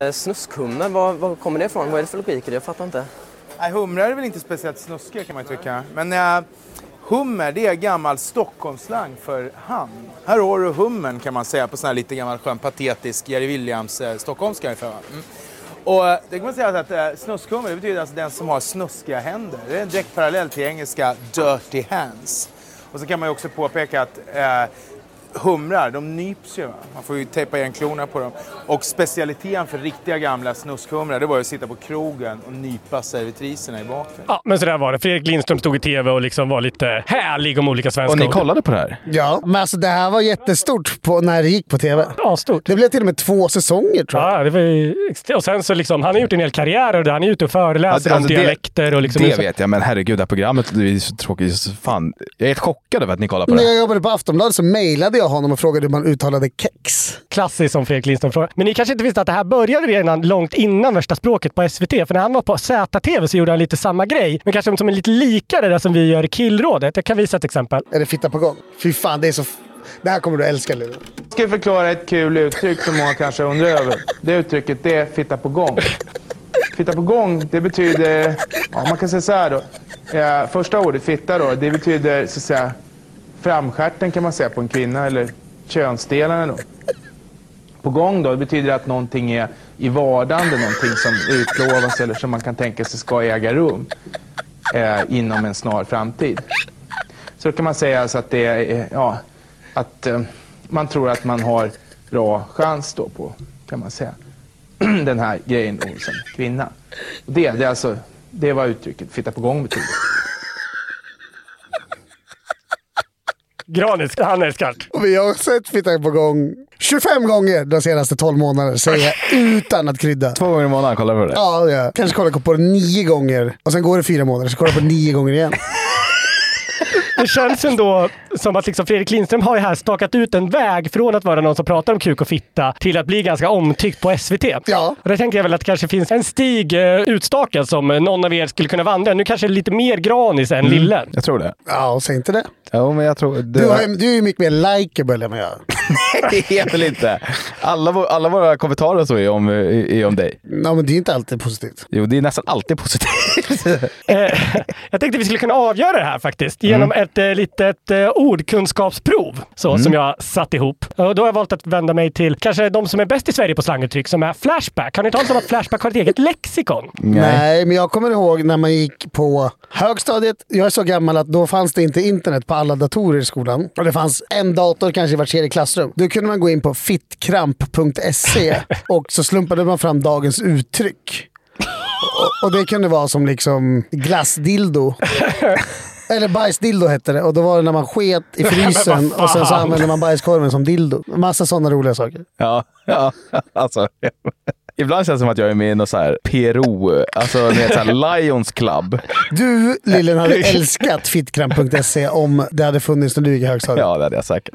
Speaker 5: Eh, Snuskhummer, var, var kommer det ifrån? Vad är det för logik i det? Jag fattar inte.
Speaker 6: Nej, humrar är väl inte speciellt snuskiga kan man ju tycka. Men eh, hummer, det är gammal Stockholmsslang för han. Här har du hummern kan man säga på sån här lite gammal skön patetisk Jerry Williams eh, stockholmska ungefär. va? Mm. Och eh, det kan man säga att eh, snuskhummer det betyder alltså den som har snuskiga händer. Det är en direkt parallell till engelska dirty hands. Och så kan man ju också påpeka att eh, humrar, de nyps ju. Va? Man får ju tejpa igen klorna på dem. Och specialiteten för riktiga gamla snuskhumrar, det var ju att sitta på krogen och nypa servitriserna i baken.
Speaker 4: Ja, men så där var det. Fredrik Lindström stod i tv och liksom var lite härlig om olika svenska
Speaker 3: Och ni
Speaker 4: ord.
Speaker 3: kollade på det här?
Speaker 2: Ja, men alltså det här var jättestort på, när det gick på tv.
Speaker 4: Ja, stort.
Speaker 2: Det blev till och med två säsonger tror jag.
Speaker 4: Ja, det var ju... ext- Och sen så liksom, han har gjort en hel karriär av det. Han är ute och föreläser
Speaker 3: Ja,
Speaker 4: om
Speaker 3: alltså, det-
Speaker 4: dialekter och liksom...
Speaker 3: det vet jag, men herregud, det här programmet det är så tråkigt. så Fan, jag är helt chockad över att ni kollar på
Speaker 2: När
Speaker 3: det.
Speaker 2: jag jobbade på Aftonbladet så mejlade jag honom och frågade hur man uttalade kex.
Speaker 4: Klassiskt som Fredrik Lindström frågar. Men ni kanske inte visste att det här började redan långt innan Värsta språket på SVT. För när han var på ZTV så gjorde han lite samma grej. Men kanske som en lite likare det som vi gör i Killrådet. Jag kan visa ett exempel.
Speaker 2: Är det fitta på gång? Fy fan, det är så... f- Det här kommer du älska Luleå.
Speaker 6: Jag ska förklara ett kul uttryck som många kanske undrar över. Det uttrycket, det är fitta på gång. Fitta på gång, det betyder... Ja, man kan säga så här då. Eh, första ordet, fitta, då, det betyder så att säga framstjärten kan man säga på en kvinna eller könsdelarna då. På gång då, det betyder att någonting är i vardande, någonting som utlovas eller som man kan tänka sig ska äga rum eh, inom en snar framtid. Så kan man säga alltså att det är, ja, att eh, man tror att man har bra chans då på, kan man säga, den här grejen då som kvinna. Och det, det är alltså, det var uttrycket fitta på gång betyder.
Speaker 4: Granis, han älskar det.
Speaker 2: Och vi har sett fitta på gång 25 gånger de senaste 12 månaderna, säger jag utan att krydda.
Speaker 3: Två gånger i månaden kollar jag på det.
Speaker 2: Ja, det gör jag. Kanske kollar jag på det nio gånger och sen går det fyra månader så kollar jag på det nio gånger igen.
Speaker 4: Det känns ändå som att liksom Fredrik Lindström har ju här stakat ut en väg från att vara någon som pratar om kuk och fitta till att bli ganska omtyckt på SVT.
Speaker 2: Ja.
Speaker 4: Och där tänker jag väl att det kanske finns en stig eh, utstakad som eh, någon av er skulle kunna vandra. Nu kanske det är lite mer Granis än Lillen.
Speaker 3: Jag tror det.
Speaker 2: Ja, och säg inte det.
Speaker 3: Jo, men jag tror... Det
Speaker 2: Du, har, ju- du är ju mycket mer likeable än vad jag är.
Speaker 3: det är väl inte. Alla, vå- alla våra kommentarer så är om, är är om dig.
Speaker 2: Ja, men det är inte alltid positivt.
Speaker 3: Jo, det är nästan alltid positivt.
Speaker 4: Eh, jag tänkte vi skulle kunna avgöra det här faktiskt genom ett eh, litet eh, ordkunskapsprov så, som jag satt ihop. Och då har jag valt att vända mig till kanske de som är bäst i Sverige på slanguttryck som är Flashback. Har ni talat om att Flashback har ett eget lexikon?
Speaker 2: Nej. men jag kommer ihåg när man gick på högstadiet. Jag är så gammal att då fanns det inte internet på alla datorer i skolan. Och det fanns en dator kanske i vart tredje klassrum. Då kunde man gå in på fittkramp.se och så slumpade man fram dagens uttryck. Och, och det kunde vara som liksom glassdildo. Eller bajsdildo hette det och då var det när man sket i frysen och sen så
Speaker 4: fan.
Speaker 2: använde man bajskorven som dildo. Massa sådana roliga saker.
Speaker 3: Ja, ja, alltså. Ibland känns det som att jag är med i någon så här PRO, alltså ni vet så här Lions Club.
Speaker 2: Du, Lillen, hade älskat fittkramp.se om det hade funnits när du gick i högstadiet.
Speaker 3: Ja, det hade jag säkert.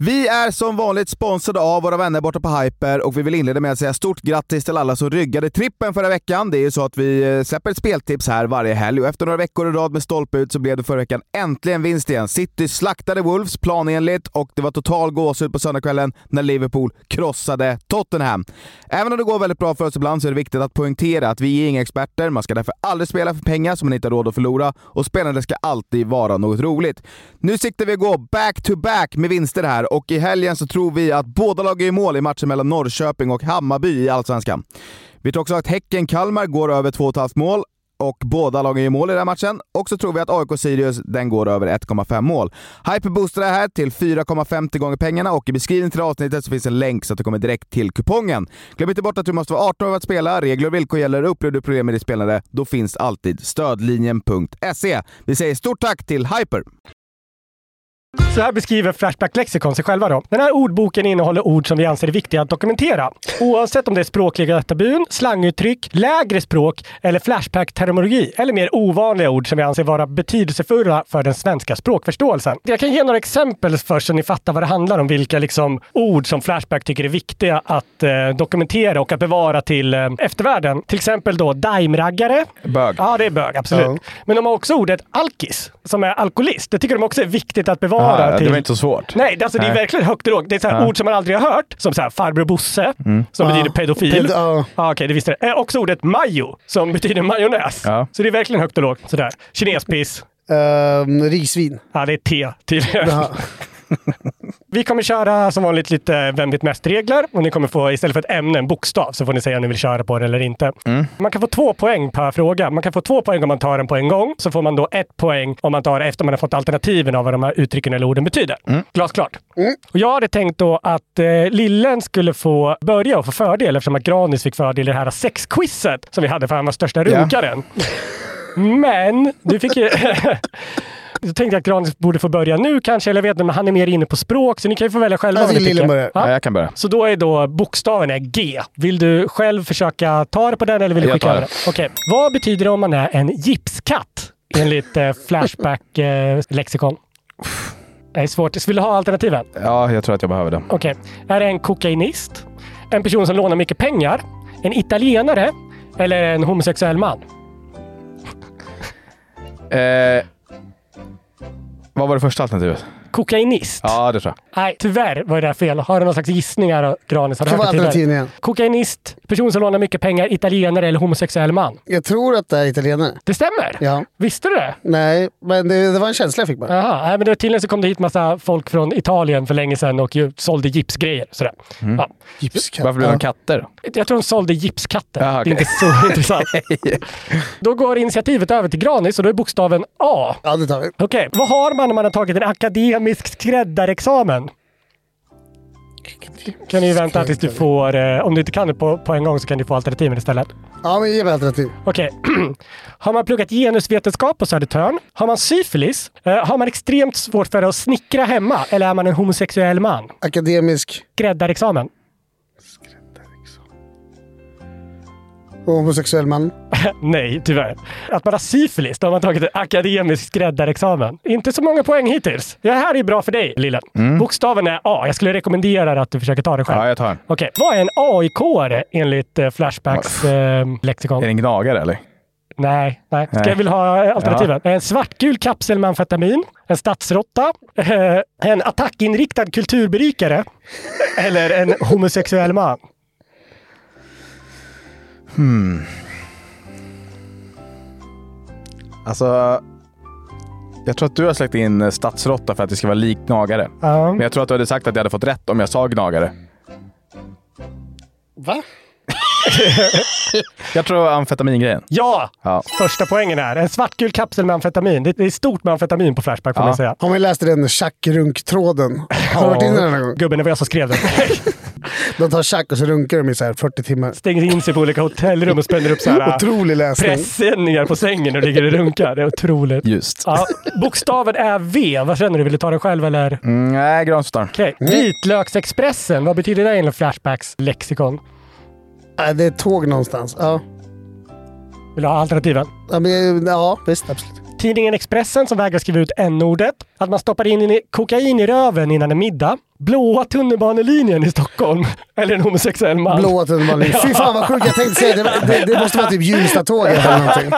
Speaker 3: Vi är som vanligt sponsrade av våra vänner borta på Hyper och vi vill inleda med att säga stort grattis till alla som ryggade trippen förra veckan. Det är ju så att vi eh, släpper ett speltips här varje helg och efter några veckor i rad med stolpe ut så blev det förra veckan äntligen vinst igen. City slaktade Wolves planenligt och det var total gåshud på söndagskvällen när Liverpool krossade Tottenham. Även om det går väldigt bra för oss ibland så är det viktigt att poängtera att vi är inga experter. Man ska därför aldrig spela för pengar som man inte har råd att förlora och spelandet ska alltid vara något roligt. Nu siktar vi att gå back-to-back med vinster här och i helgen så tror vi att båda lag är i mål i matchen mellan Norrköping och Hammarby i Allsvenskan. Vi tror också att Häcken-Kalmar går över 2,5 mål och båda lagen gör mål i den här matchen. Och så tror vi att AIK-Sirius, den går över 1,5 mål. Hyper boostar det här till 4,50 gånger pengarna och i beskrivningen till det här avsnittet så finns en länk så att du kommer direkt till kupongen. Glöm inte bort att du måste vara 18 år för att spela. Regler och villkor gäller. Upplever du problem med ditt spelande, då finns alltid stödlinjen.se. Vi säger stort tack till Hyper!
Speaker 4: Så här beskriver Flashback Lexicon sig själva då. Den här ordboken innehåller ord som vi anser är viktiga att dokumentera. Oavsett om det är språkliga tabun, slanguttryck, lägre språk eller Flashback-terminologi eller mer ovanliga ord som vi anser vara betydelsefulla för den svenska språkförståelsen. Jag kan ge några exempel först så ni fattar vad det handlar om. Vilka liksom ord som Flashback tycker är viktiga att eh, dokumentera och att bevara till eh, eftervärlden. Till exempel då daimraggare.
Speaker 6: Bög.
Speaker 4: Ja, det är bög. Absolut.
Speaker 6: Ja.
Speaker 4: Men de har också ordet alkis, som är alkoholist. Det tycker de också är viktigt att bevara
Speaker 6: Ah,
Speaker 4: bara
Speaker 6: det
Speaker 4: till...
Speaker 6: var inte så svårt.
Speaker 4: Nej, alltså, det är
Speaker 6: Nej.
Speaker 4: verkligen högt och lågt. Det är så här
Speaker 6: Ja.
Speaker 4: ord som man aldrig har hört, som så här farbror Bosse,
Speaker 6: Mm.
Speaker 4: som
Speaker 6: Ja.
Speaker 4: betyder pedofil.
Speaker 6: Ped-
Speaker 4: ja, Okej, det visste jag. Eh, också ordet majo, som betyder majonnäs. Så det är verkligen högt och lågt. Sådär. Kinespiss.
Speaker 2: Ehm, risvin.
Speaker 4: Ja, det är te tydligen.
Speaker 2: Ja.
Speaker 4: Vi kommer köra som vanligt lite Vem vet mest-regler och ni kommer få istället för ett ämne en bokstav så får ni säga om ni vill köra på det eller inte. Man kan få två poäng per fråga. Man kan få två poäng om man tar den på en gång. Så får man då ett poäng om man tar det efter man har fått alternativen av vad de här uttrycken eller orden betyder. Glasklart. Och jag hade tänkt då att eh, Lillen skulle få börja och få fördel eftersom att Granis fick fördel i det här sexquizet som vi hade för han var största
Speaker 6: Ja.
Speaker 4: runkaren. Men du fick ju... Jag tänkte att Granis borde få börja nu kanske, eller jag vet inte, men han är mer inne på språk, så ni kan ju få välja själva.
Speaker 6: Jag
Speaker 4: vad
Speaker 6: tycker
Speaker 4: ni tycker.
Speaker 6: Lillen börjar.
Speaker 4: Ja.
Speaker 6: Ja, jag kan börja.
Speaker 4: Så då är då bokstaven är G. Vill du själv försöka ta det på den eller vill du
Speaker 6: Jag
Speaker 4: skicka
Speaker 6: tar
Speaker 4: över det? Okej. Vad betyder det om man är en gipskatt? Enligt eh, Flashback-lexikon. det är svårt. Vill du ha alternativen?
Speaker 6: Ja, jag tror att jag behöver det.
Speaker 4: Okej. Är det en kokainist? En person som lånar mycket pengar? En italienare? Eller en homosexuell man?
Speaker 6: Eh, vad var det första alternativet?
Speaker 4: Kokainist?
Speaker 6: Ja, det tror jag.
Speaker 4: Nej, tyvärr var det där fel. Har du någon slags gissningar, Granis? Har du
Speaker 2: Kan vara
Speaker 4: hört det tidigare?
Speaker 2: alternativen igen.
Speaker 4: Kokainist, person som lånar mycket pengar, italienare eller homosexuell man?
Speaker 2: Jag tror att det är italienare.
Speaker 4: Det stämmer?
Speaker 2: Ja.
Speaker 4: Visste du det?
Speaker 2: Nej, men det, det var en känsla jag fick bara.
Speaker 4: Jaha, nej, men det var tydligen så kom det hit massa folk från Italien för länge sedan och ju sålde gipsgrejer. Sådär.
Speaker 6: Mm.
Speaker 4: Ja.
Speaker 6: Varför blev de katter då?
Speaker 4: Jag tror de sålde gipskatter.
Speaker 6: Jaha,
Speaker 4: Det är
Speaker 6: okej.
Speaker 4: inte så intressant. Då går initiativet över till Granis och då är bokstaven A.
Speaker 2: Ja, det tar vi.
Speaker 4: Okej, vad har man när man har tagit en akademisk skräddarexamen? Kan ni vänta tills du får, eh, om du inte kan det på, på en gång så kan du få alternativen istället.
Speaker 2: Ja, men ge mig alternativ.
Speaker 4: Okej. har man pluggat genusvetenskap på Södertörn? Har man syfilis? Eh, har man extremt svårt för att snickra hemma? Eller är man en homosexuell man?
Speaker 2: Akademisk.
Speaker 4: Skräddarexamen.
Speaker 2: Och homosexuell man.
Speaker 4: Nej, tyvärr. Att man har syfilis, då har man tagit en akademisk skräddarexamen. Inte så många poäng hittills. Det här är bra för dig, lilla. Bokstaven är A. Jag skulle rekommendera att du försöker ta den själv.
Speaker 6: Ja, jag tar den.
Speaker 4: Okej, vad är en AIK-are enligt eh, Flashbacks eh, lexikon?
Speaker 6: Är det en gnagare eller?
Speaker 4: Nej, nej. Ska
Speaker 6: Nej.
Speaker 4: jag vill ha eh, alternativen? En svartgul kapsel med amfetamin, en stadsråtta, eh, en attackinriktad kulturberikare eller en homosexuell man.
Speaker 6: Hmm. Alltså... Jag tror att du har släckt in eh, stadsråtta för att det ska vara lik gnagare.
Speaker 4: Ja.
Speaker 6: Men jag tror att du hade sagt att jag hade fått rätt om jag sa gnagare.
Speaker 2: Va?
Speaker 6: Jag tror det var amfetamingrejen.
Speaker 4: Ja!
Speaker 6: Ja.
Speaker 4: Första poängen här. En svartgul kapsel med amfetamin. Det det är stort med amfetamin på Flashback får man säga.
Speaker 2: Har man läst den tjackrunkråden? Har du varit inne i den någon gång?
Speaker 4: Gubben, det var jag som skrev den.
Speaker 2: De tar tjack och så runkar de i så här 40 timmar.
Speaker 4: Stänger in sig på olika hotellrum och spänner upp så här,
Speaker 2: Otrolig läsning.
Speaker 4: pressändningar på sängen och ligger och runkar. Det är otroligt.
Speaker 6: Just.
Speaker 4: Ja, bokstaven är V. Vad känner du? Vill du ta den själv eller?
Speaker 6: Mm, nej, granstar.
Speaker 4: Okej.
Speaker 2: Mm.
Speaker 4: Vitlöksexpressen, vad betyder det enligt Flashbacks lexikon?
Speaker 2: Nej, det är tåg någonstans. Ja.
Speaker 4: Vill du ha alternativen?
Speaker 2: Ja, men, ja visst. Absolut.
Speaker 4: Tidningen Expressen som vägrar skriva ut n-ordet. Att man stoppar in i- kokain i röven innan en middag. Blåa tunnelbanelinjen i Stockholm. Eller en homosexuell man.
Speaker 2: Blåa tunnelbanelinjen. Fy fan vad sjukt, jag tänkte säga det. Det, det måste vara typ Hjulstatåget eller någonting.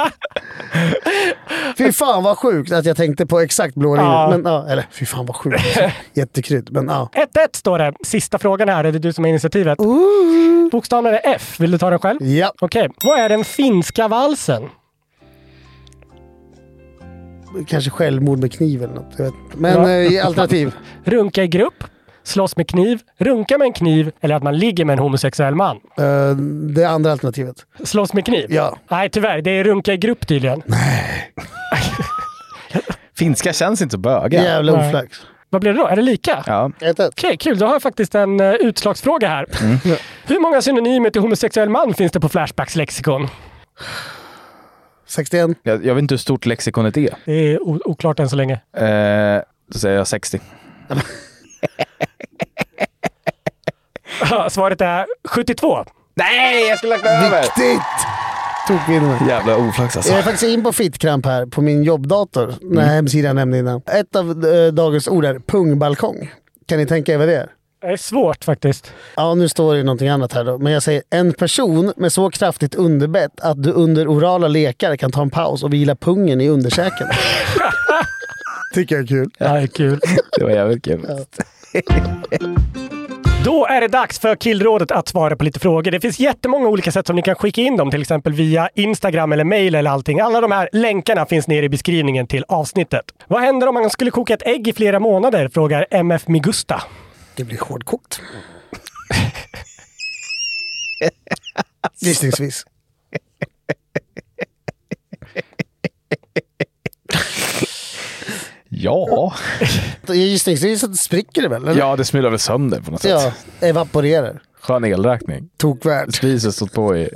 Speaker 2: Fy fan vad sjukt att jag tänkte på exakt blå linjen.
Speaker 4: Ja.
Speaker 2: Men, ja, eller fy fan vad sjukt. Jättekrydd, men ja.
Speaker 4: 1-1 står det. Sista frågan här. Är det du som är initiativet? Bokstaven är F. Vill du ta den själv?
Speaker 2: Ja.
Speaker 4: Okej. Vad är den finska valsen?
Speaker 2: Kanske självmord med kniv eller något. Jag vet. inte. Men
Speaker 4: Ja.
Speaker 2: eh, alternativ.
Speaker 4: Runka i grupp, slåss med kniv, runka med en kniv eller att man ligger med en homosexuell man.
Speaker 2: Eh, det andra alternativet.
Speaker 4: Slåss med kniv?
Speaker 2: Ja.
Speaker 4: Nej, tyvärr. Det är runka i grupp tydligen.
Speaker 3: Finska känns inte så böga.
Speaker 4: Jävla Nej. oflax. Vad blev det då? Är det lika?
Speaker 3: Ja.
Speaker 4: Okej, kul. Då har jag faktiskt en eh, utslagsfråga här.
Speaker 3: Mm.
Speaker 4: Hur många synonymer till homosexuell man finns det på Flashbacks lexikon?
Speaker 2: 61.
Speaker 3: Jag, jag vet inte hur stort lexikonet är.
Speaker 4: Det är o- oklart än så länge.
Speaker 3: Eh, då säger jag 60.
Speaker 4: Svaret är 72.
Speaker 3: Nej, jag skulle lagt
Speaker 2: Viktigt! Tokvinner.
Speaker 3: Jävla oflax alltså.
Speaker 2: Jag är faktiskt in på Fittkramp här på min jobbdator, den här hemsidan jag nämnde innan. Ett av eh, dagens ord är pungbalkong. Kan ni tänka er vad det är?
Speaker 4: Det är svårt faktiskt.
Speaker 2: Ja, nu står det ju någonting annat här då. Men jag säger en person med så kraftigt underbett att du under orala lekar kan ta en paus och vila pungen i underkäken. Tycker jag är kul.
Speaker 4: Ja, det är kul.
Speaker 3: Det var jävligt kul.
Speaker 4: Då är det dags för Killrådet att svara på lite frågor. Det finns jättemånga olika sätt som ni kan skicka in dem, till exempel via Instagram eller mail eller allting. Alla de här länkarna finns nere i beskrivningen till avsnittet. Vad händer om man skulle koka ett ägg i flera månader? Frågar MF Migusta.
Speaker 2: Det blir hårdkokt. Gissningsvis.
Speaker 3: Ja.
Speaker 2: Gissningsvis så spricker det väl? Eller?
Speaker 3: Ja, det smular väl sönder på något sätt.
Speaker 2: ja. Evaporerar.
Speaker 3: Skön elräkning.
Speaker 2: Tokvärd.
Speaker 3: Spisen stått på i...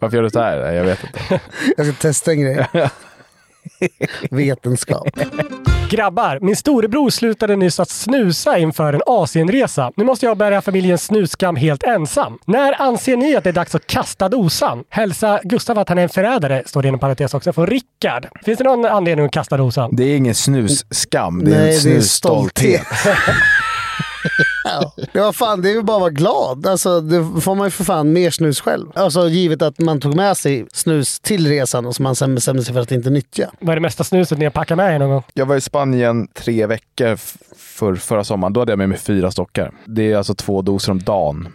Speaker 3: Varför gör du så här? Nej, Jag vet inte.
Speaker 2: Jag ska testa en grej. Vetenskap.
Speaker 4: Grabbar, min storebror slutade nyss att snusa inför en Asienresa. Nu måste jag bära familjens snusskam helt ensam. När anser ni att det är dags att kasta dosan? Hälsa Gustav att han är en förrädare, står det inom parentes också, från Rickard. Finns det någon anledning att kasta dosan?
Speaker 3: Det är ingen snusskam,
Speaker 2: Nej,
Speaker 3: det är
Speaker 2: det
Speaker 3: en
Speaker 2: är
Speaker 3: snusstolthet.
Speaker 2: Ja, det var fan, det är väl bara att vara glad. Alltså, det får man ju för fan mer snus själv. Alltså givet att man tog med sig snus till resan och som man sen bestämde sig för att inte nyttja.
Speaker 4: Vad är det mesta snuset ni har packat med er någon gång?
Speaker 3: Jag var i Spanien tre veckor f- för, förra sommaren. Då hade jag med mig fyra stockar. Det är alltså två doser om dagen.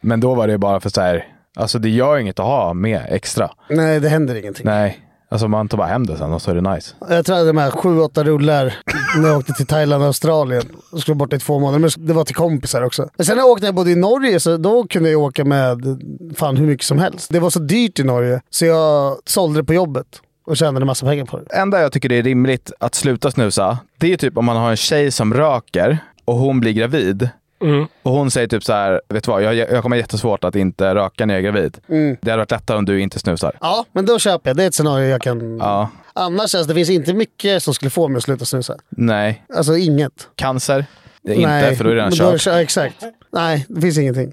Speaker 3: Men då var det bara för så här... Alltså det gör inget att ha med extra.
Speaker 2: Nej, det händer ingenting.
Speaker 3: Nej. Alltså man tar bara hem det sen och så är det nice.
Speaker 2: Jag tror jag hade med sju, åtta rullar när jag åkte till Thailand och Australien. Jag skulle bort i två månader, men det var till kompisar också. Men sen när jag åkte när jag bodde i Norge, så då kunde jag åka med fan hur mycket som helst. Det var så dyrt i Norge, så jag sålde det på jobbet och tjänade massa pengar på det.
Speaker 3: enda jag tycker det är rimligt att sluta snusa, det är typ om man har en tjej som röker och hon blir gravid.
Speaker 4: Mm.
Speaker 3: Och hon säger typ så här, vet du vad, jag, jag kommer ha jättesvårt att inte röka när jag är gravid. Det hade varit lättare om du inte snusar.
Speaker 2: Mm. Ja, men då köper jag. Det är ett scenario jag kan...
Speaker 3: Ja.
Speaker 2: Annars alltså, det finns inte mycket som skulle få mig att sluta snusa.
Speaker 3: Nej.
Speaker 2: Alltså inget.
Speaker 3: Cancer? Det är Inte, för då är det redan
Speaker 2: men då
Speaker 3: kört.
Speaker 2: kö- Exakt. Nej, det finns ingenting.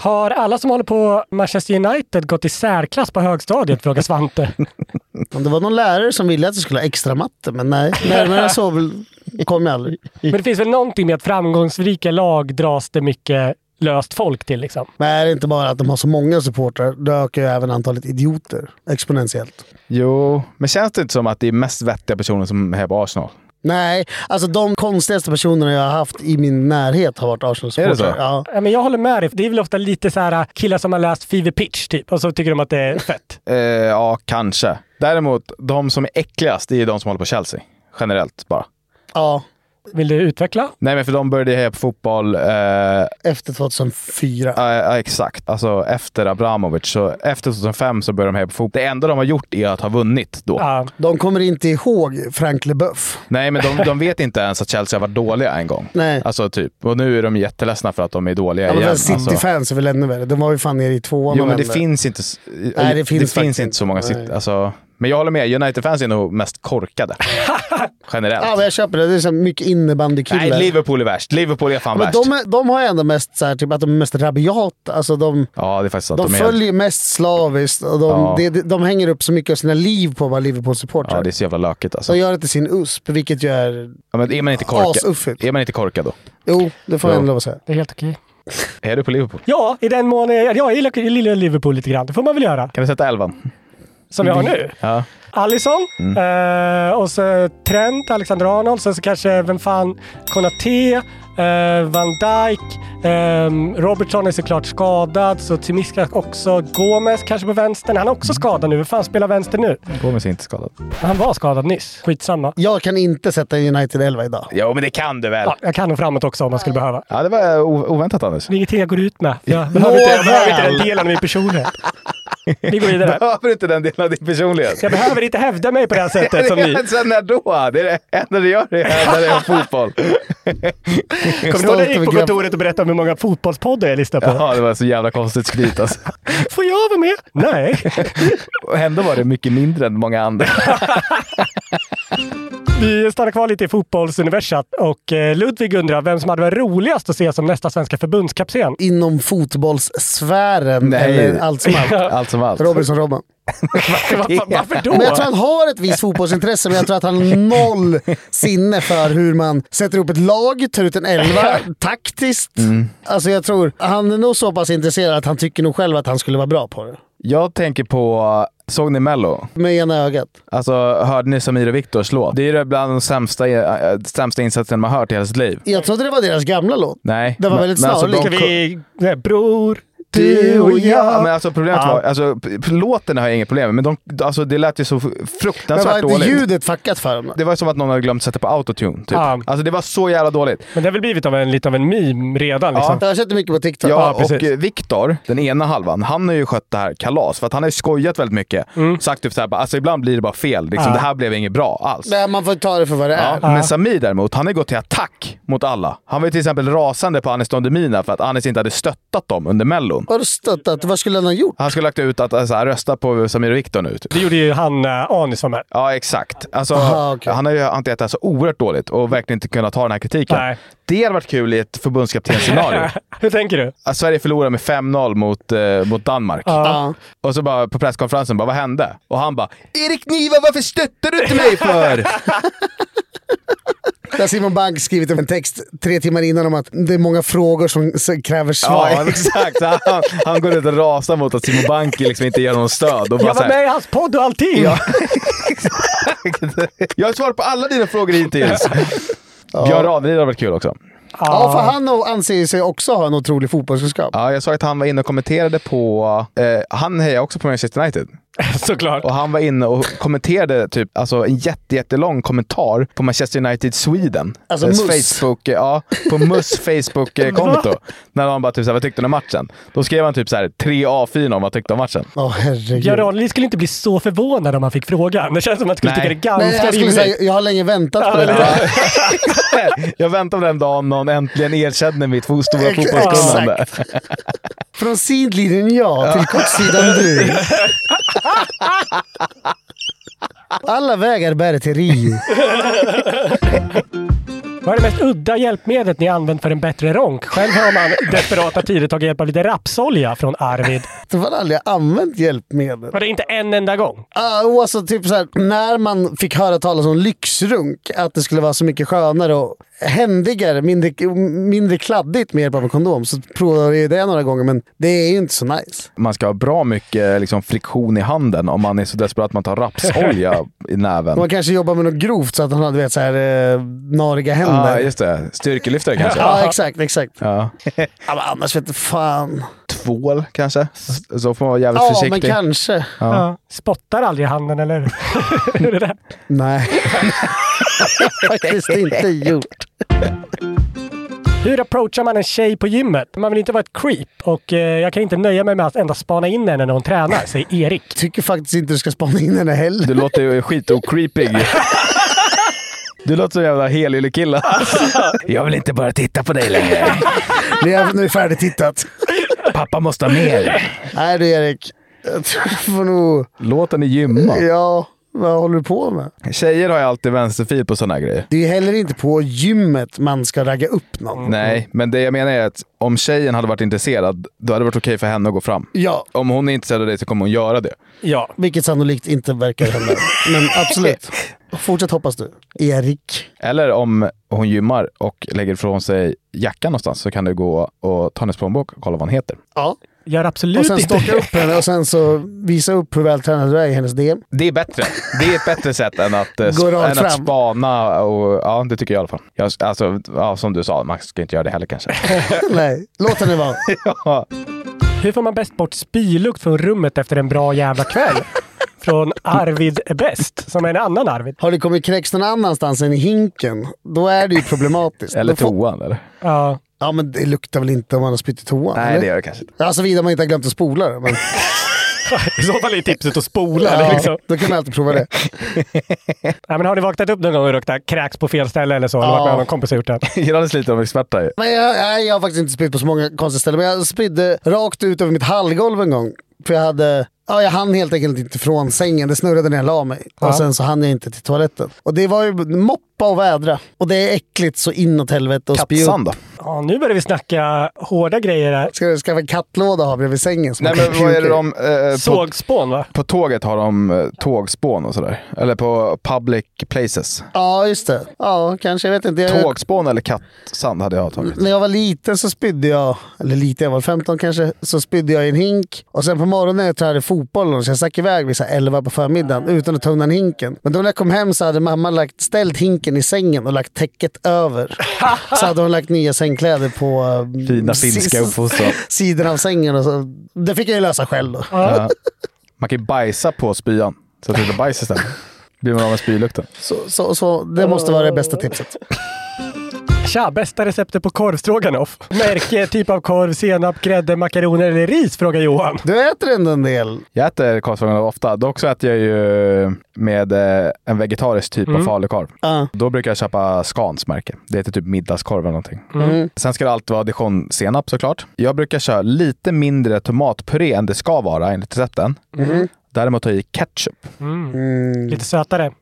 Speaker 4: Har alla som håller på Manchester United gått i särklass på högstadiet? Frågar Svante.
Speaker 2: Om det var någon lärare som ville att jag skulle ha extra matte, men nej. Närmare än så väl- kom jag aldrig.
Speaker 4: Men det finns väl någonting med att framgångsrika lag dras det mycket löst folk till liksom.
Speaker 2: Men är det inte bara att de har så många supportrar, då ökar ju även antalet idioter exponentiellt.
Speaker 3: Jo, men känns det inte som att det är mest vettiga personer som är på Arsenal?
Speaker 2: Nej, alltså de konstigaste personerna jag har haft i min närhet har varit
Speaker 3: Är det så?
Speaker 2: Arsenal-supportrar. Ja.
Speaker 4: Ja, men jag håller med dig. Det är väl ofta lite så här killar som har läst Fever Pitch typ och så tycker de att det är fett.
Speaker 3: Eh, ja, kanske. Däremot, de som är äckligast, det är de som håller på Chelsea. Generellt bara.
Speaker 2: ja.
Speaker 4: Vill du utveckla?
Speaker 3: Nej, men för de började heja på fotboll eh,
Speaker 2: Efter 2004.
Speaker 3: Ja, ja, exakt. Alltså efter Abramovic. Så efter 2005 så började de här på fotboll. Det enda de har gjort är att ha vunnit då.
Speaker 4: Ja.
Speaker 2: De kommer inte ihåg Frank LeBeuf.
Speaker 3: Nej, men de, de vet inte ens att Chelsea har varit dåliga en gång.
Speaker 2: Nej.
Speaker 3: Alltså typ. Och nu är de jätteledsna för att de är dåliga
Speaker 2: Ja, men
Speaker 3: igen. alltså.
Speaker 2: väl City-fans är väl ännu värre. De var ju fan nere i tvåan
Speaker 3: Jo,
Speaker 2: och
Speaker 3: men det
Speaker 2: vände.
Speaker 3: finns inte,
Speaker 2: Nej, det
Speaker 3: det
Speaker 2: finns
Speaker 3: finns
Speaker 2: faktiskt
Speaker 3: inte så många
Speaker 2: inte.
Speaker 3: City. Alltså, Men jag håller med, United-fans är nog mest korkade. Generellt.
Speaker 2: Ja, men jag köper det. Det är så mycket innebandykillar.
Speaker 3: Nej, Liverpool är värst. Liverpool är fan
Speaker 2: Men
Speaker 3: värst.
Speaker 2: de, är- de har ju ändå mest så här, typ att de är mest rabiata. Alltså de,
Speaker 3: Ja, det är faktiskt sant.
Speaker 2: de
Speaker 3: är-
Speaker 2: följer mest slaviskt och de,
Speaker 3: Ja.
Speaker 2: de, de hänger upp så mycket av sina liv på att vara Liverpool-supportrar.
Speaker 3: Ja, det är så jävla lökigt alltså.
Speaker 2: De gör det till sin USP, vilket ju är...
Speaker 3: Ja, men är man inte korkad?
Speaker 2: Asuffigt.
Speaker 3: Är man inte korkad då?
Speaker 2: Jo, det får
Speaker 3: Jo.
Speaker 2: jag ändå lov att säga.
Speaker 4: Det är helt okej.
Speaker 3: Är du på Liverpool?
Speaker 4: Ja, i den mån jag, jag gillar jag gillar Liverpool lite grann. Det får man väl göra.
Speaker 3: Kan du sätta elvan? Mm.
Speaker 4: Som vi har nu.
Speaker 3: Ja. Mm.
Speaker 4: Alisson, eh, och så Trent, Alexander Arnold, sen så kanske, vem fan, Konaté, eh, Van Dijk, ehm, Robertson är såklart skadad, så Timiska också. Gomes kanske på vänstern. Han är också skadad nu. Vem fan spelar vänster nu?
Speaker 3: Gomes Mm. är inte skadad.
Speaker 4: Han var skadad nyss. Skitsamma.
Speaker 2: Jag kan inte sätta en United 11 idag.
Speaker 3: Jo, men det kan du väl?
Speaker 4: Ja, jag kan nog framåt också om man skulle behöva.
Speaker 3: Ja, det var eh, o- oväntat Anders.
Speaker 4: Det är ingenting jag går ut med. Jag behöver inte, jag behöver inte den delen av min personlighet. Vi går vidare.
Speaker 3: Behöver inte den delen av din personlighet?
Speaker 4: Jag behöver inte hävda mig på det här sättet som ni.
Speaker 3: Sen när då? Det är det enda du gör det är när det är fotboll.
Speaker 4: Kommer du ihåg när jag gick på kontoret och berättade om hur många fotbollspoddar jag lyssnar på?
Speaker 3: Ja, det var så jävla konstigt skryt alltså.
Speaker 4: Får jag vara med? Nej.
Speaker 3: Och ändå var det mycket mindre än många andra.
Speaker 4: Vi stannar kvar lite i fotbollsuniversat och eh, Ludvig undrar vem som hade varit roligast att se som nästa svenska förbundskapten.
Speaker 2: Inom fotbollssfären
Speaker 3: Nej.
Speaker 2: eller allt som allt.
Speaker 3: Allt som allt.
Speaker 2: Robinson Robban.
Speaker 4: Varför, varför då?
Speaker 2: Men jag tror han har ett visst fotbollsintresse, men jag tror att han har noll sinne för hur man sätter ihop ett lag, tar ut en elva, taktiskt.
Speaker 3: Mm.
Speaker 2: Alltså jag tror, han är nog så pass intresserad att han tycker nog själv att han skulle vara bra på det.
Speaker 3: Jag tänker på, såg ni Mello?
Speaker 2: Med ena ögat.
Speaker 3: Alltså, hörde ni Samir och Viktors låt? Det är det bland de sämsta, eh, sämsta insatserna man hört i hela sitt liv.
Speaker 2: Jag trodde det var deras gamla låt.
Speaker 3: Nej.
Speaker 2: Det var
Speaker 3: men-
Speaker 2: väldigt
Speaker 3: men alltså,
Speaker 2: snarlik.
Speaker 3: de-
Speaker 4: Ska vi... Nej, bror,
Speaker 3: Du och jag. Men
Speaker 4: Men,
Speaker 3: alltså problemet var, alltså, p- p- låten har jag inget problem med, men de, alltså, det lät ju så
Speaker 2: Men
Speaker 3: fruktansvärt
Speaker 2: var inte
Speaker 3: dåligt.
Speaker 2: ljudet fuckat för dem?
Speaker 3: Det var som att någon hade glömt sätta på autotune. Typ.
Speaker 4: Ja.
Speaker 3: Alltså det var så jävla dåligt.
Speaker 4: det har väl blivit av en, lite av en meme redan liksom.
Speaker 2: Jag har sett det mycket på TikTok.
Speaker 3: Ja,
Speaker 4: precis.
Speaker 3: och eh, Viktor, den ena halvan, han har ju skött det här kalas. För att han har ju skojat väldigt mycket. Sagt typ såhär, bara, alltså ibland blir det bara fel. Liksom,
Speaker 4: Ja.
Speaker 3: Det här blev inget bra alls.
Speaker 2: Nej, man får ta det för vad det
Speaker 3: Ja,
Speaker 2: är.
Speaker 3: Men Samir däremot, han har ju gått till attack mot alla. Han var ju till exempel rasande på Anis Don Demina för att Anis inte hade stöttat dem under mellon.
Speaker 2: Har du stöttat? Vad skulle han ha gjort?
Speaker 3: Han skulle ha lagt ut att alltså, rösta på Samir och Viktor nu. typ.
Speaker 4: Det gjorde ju han eh, Anis var med.
Speaker 3: Ja, exakt. Alltså,
Speaker 2: Aha, okej.
Speaker 3: Han har ju hanterat det här så oerhört dåligt och verkligen inte kunnat ta den här kritiken.
Speaker 4: Nej.
Speaker 3: Det hade varit kul i ett förbundskaptensscenario.
Speaker 4: Hur tänker du?
Speaker 3: att Sverige förlorar med 5-0 mot, eh, mot Danmark.
Speaker 2: Ja.
Speaker 3: Och så bara på presskonferensen, bara, vad hände? Och han bara “Erik Niva, varför stöttar du inte mig för?”
Speaker 2: Där Simon Bank skrivit en text tre timmar innan om att det är många frågor som s- kräver svar.
Speaker 3: Ja, exakt. Så Han, han går ut och rasar mot att Simon Banki liksom inte ger honom stöd. Och bara
Speaker 4: Jag
Speaker 3: så
Speaker 4: var
Speaker 3: här,
Speaker 4: med i hans podd och allting!
Speaker 3: Ja, exakt. Jag har svarat på alla dina frågor hittills. Björn Ranelid hade varit kul också.
Speaker 2: Ja, för han nog anser sig också ha en otrolig fotbollskunskap.
Speaker 3: Ja, jag såg att han var inne och kommenterade på... Eh, han hejar också på Manchester United.
Speaker 4: Såklart.
Speaker 3: Och han var inne och kommenterade typ, alltså en jätte, jättelång kommentar på Manchester United Sweden.
Speaker 2: Alltså
Speaker 3: Dess
Speaker 2: Mus.
Speaker 3: Facebook, eh, ja, på Mus Facebook-konto. När han bara typ såhär, vad tyckte du om matchen? Då skrev han typ såhär tre A4 om vad han tyckte om matchen.
Speaker 2: Åh
Speaker 4: Björn
Speaker 2: herregud.
Speaker 4: Ranelid skulle inte bli så förvånad om han fick frågan. Det känns som att han skulle
Speaker 3: Nej.
Speaker 4: tycka det är
Speaker 2: Nej,
Speaker 4: ganska
Speaker 2: jag, skulle
Speaker 4: rimligt.
Speaker 2: säga, jag har länge väntat på det.
Speaker 3: Eh, Jag väntar på den dagen någon äntligen erkänner mitt fo- stora
Speaker 2: Ex-
Speaker 3: fotbollskunnande.
Speaker 2: Från sidlinjen jag till kortsidan du. Alla vägar bär till Rio.
Speaker 4: Vad är det mest udda hjälpmedlet ni använt för en bättre ronk? Själv har man i desperata tider tagit hjälp av lite rapsolja från Arvid.
Speaker 2: Jag har aldrig använt hjälpmedel.
Speaker 4: Var det inte en enda gång?
Speaker 2: Ah, och alltså, typ så här, när man fick höra talas om lyxrunk, att det skulle vara så mycket skönare och händigare, mindre, mindre kladdigt med hjälp av en kondom, så provade jag ju det några gånger, men det är ju inte så nice.
Speaker 3: Man ska ha bra mycket liksom, friktion i handen om man är så desperat att man tar rapsolja i näven.
Speaker 2: Man kanske jobbar med något grovt så att han hade vet, så här, eh, nariga händer.
Speaker 3: ah, just det. Styrkelyftare kanske?
Speaker 2: Ja, exakt. exakt.
Speaker 3: Ja.
Speaker 2: Ja, men annars vet du fan.
Speaker 3: Tvål kanske? Så får man vara jävligt
Speaker 2: Ja, men
Speaker 3: försiktig.
Speaker 2: kanske.
Speaker 4: Ja. Spottar aldrig i handen, eller hur? Är det där?
Speaker 2: Nej. Faktiskt inte gjort.
Speaker 4: Hur approachar man en tjej på gymmet? Man vill inte vara ett creep och eh, jag kan inte nöja mig med att endast spana in henne när hon tränar, säger Erik.
Speaker 2: Tycker faktiskt inte du ska spana in henne heller.
Speaker 3: Du låter ju skitocreepig. Du låter som en jävla helyllekille. Jag vill inte bara titta på dig längre.
Speaker 2: Nu är jag- nu är jag färdigtittat.
Speaker 3: Pappa måste ha mer.
Speaker 2: Nej du Erik. Jag tror jag får nog...
Speaker 3: Låt henne gymma.
Speaker 2: Ja, vad håller du på med?
Speaker 3: Tjejer har ju alltid vänsterfil på sådana grejer.
Speaker 2: Det är ju heller inte på gymmet man ska ragga upp någon.
Speaker 3: Nej, men det jag menar är att om tjejen hade varit intresserad, då hade det varit okej för henne att gå fram.
Speaker 2: Ja.
Speaker 3: Om hon är intresserad av dig så kommer hon göra det.
Speaker 4: Ja.
Speaker 2: Vilket sannolikt inte verkar hända. Men absolut. Fortsätt hoppas du. Erik.
Speaker 3: Eller om hon gymmar och lägger ifrån sig jackan någonstans så kan du gå och ta hennes plånbok och kolla vad hon heter.
Speaker 2: Ja.
Speaker 4: Gör absolut
Speaker 2: Och sen
Speaker 4: inte
Speaker 2: stocka
Speaker 4: det.
Speaker 2: upp henne och sen så visa upp hur vältränad du är i hennes DM.
Speaker 3: Det är bättre. Det är ett bättre sätt än att, eh,
Speaker 2: Gå
Speaker 3: sp-
Speaker 2: rakt
Speaker 3: än att
Speaker 2: fram.
Speaker 3: spana. Och, ja, det tycker jag i alla fall. Jag, alltså, ja, som du sa, Max ska inte göra det heller kanske.
Speaker 2: Nej, låt henne vara.
Speaker 3: ja.
Speaker 4: Hur får man bäst bort spylukt från rummet efter en bra jävla kväll? Från Arvid är bäst, som är en annan Arvid.
Speaker 2: Har det kommit kräks någon annanstans än i hinken, då är det ju problematiskt.
Speaker 3: Eller
Speaker 2: Då får-
Speaker 3: toan eller?
Speaker 4: Ja.
Speaker 2: Ja, men det luktar väl inte om man har spytt i toan?
Speaker 3: Nej,
Speaker 2: eller?
Speaker 3: det gör det kanske inte.
Speaker 2: Ja, såvida man inte har glömt att spola det. Men,
Speaker 4: I så fall är tipset att spola. eller
Speaker 2: ja,
Speaker 4: Liksom.
Speaker 2: då kan man alltid prova det.
Speaker 4: Ja, men har ni vaknat upp någon gång och luktat kräks på fel ställe eller så? Eller
Speaker 2: Ja.
Speaker 4: varit med någon kompis och gjort det?
Speaker 3: Gillades lite av experter ju.
Speaker 2: Men jag, nej, jag har faktiskt inte spytt på så många konstiga ställen, men jag spydde rakt ut över mitt hallgolv en gång. För jag hade... Ja, jag hann helt enkelt inte från sängen. Det snurrade när jag la mig.
Speaker 4: Ja.
Speaker 2: Och sen så hann jag inte till toaletten. Och det var ju moppa och vädra. Och det är äckligt så inåt helvete och spy upp.
Speaker 3: Kattsan då?
Speaker 4: Ja, nu börjar vi snacka hårda grejer här.
Speaker 2: Ska du skaffa en kattlåda och ha bredvid sängen? som
Speaker 3: Nej,
Speaker 2: man kan
Speaker 3: men vad är
Speaker 2: puka
Speaker 3: det
Speaker 2: i?
Speaker 3: de... Eh, på,
Speaker 4: Sågspån va?
Speaker 3: på tåget har de eh, tågspån och sådär. Eller på public places.
Speaker 2: Ja, just det. Ja, kanske. Jag vet inte. Jag,
Speaker 3: Tågspån eller kattsand hade jag tagit.
Speaker 2: När jag var liten så spydde jag, eller lite, jag var 15 kanske, så spydde jag i en hink. Och sen på morgonen när jag tränade fotboll, så jag stack iväg vid så här 11 på förmiddagen utan att ta undan hinken. Men då när jag kom hem så hade mamma lagt, ställt hinken i sängen och lagt täcket över. Så hade hon lagt nya sängkläder på eh,
Speaker 3: Fina
Speaker 2: si-
Speaker 3: finska uppfostran.
Speaker 2: sidan av sängen. Och så. Det fick jag ju lösa själv då.
Speaker 3: Ja. Man kan ju bajsa på spyan. Så att det blir bajs istället. Blir man av med spylukten.
Speaker 2: Så, så, så det måste vara det bästa tipset.
Speaker 4: Tja, bästa receptet på korvstroganoff? Märke, typ av korv, senap, grädde, makaroner eller ris? Frågar Johan.
Speaker 2: Du äter ändå en del.
Speaker 3: Jag äter korvstroganoff ofta. Dock så äter jag ju med eh, en vegetarisk typ av falukorv.
Speaker 2: Ja.
Speaker 3: Då brukar jag köpa Scans märke. Det heter typ middagskorv eller någonting.
Speaker 2: Mm.
Speaker 3: Sen ska det alltid vara dijonsenap såklart. Jag brukar köra lite mindre tomatpuré än det ska vara enligt recepten.
Speaker 2: Mm.
Speaker 3: Däremot har jag i ketchup.
Speaker 4: Mm.
Speaker 3: Mm.
Speaker 4: Lite sötare.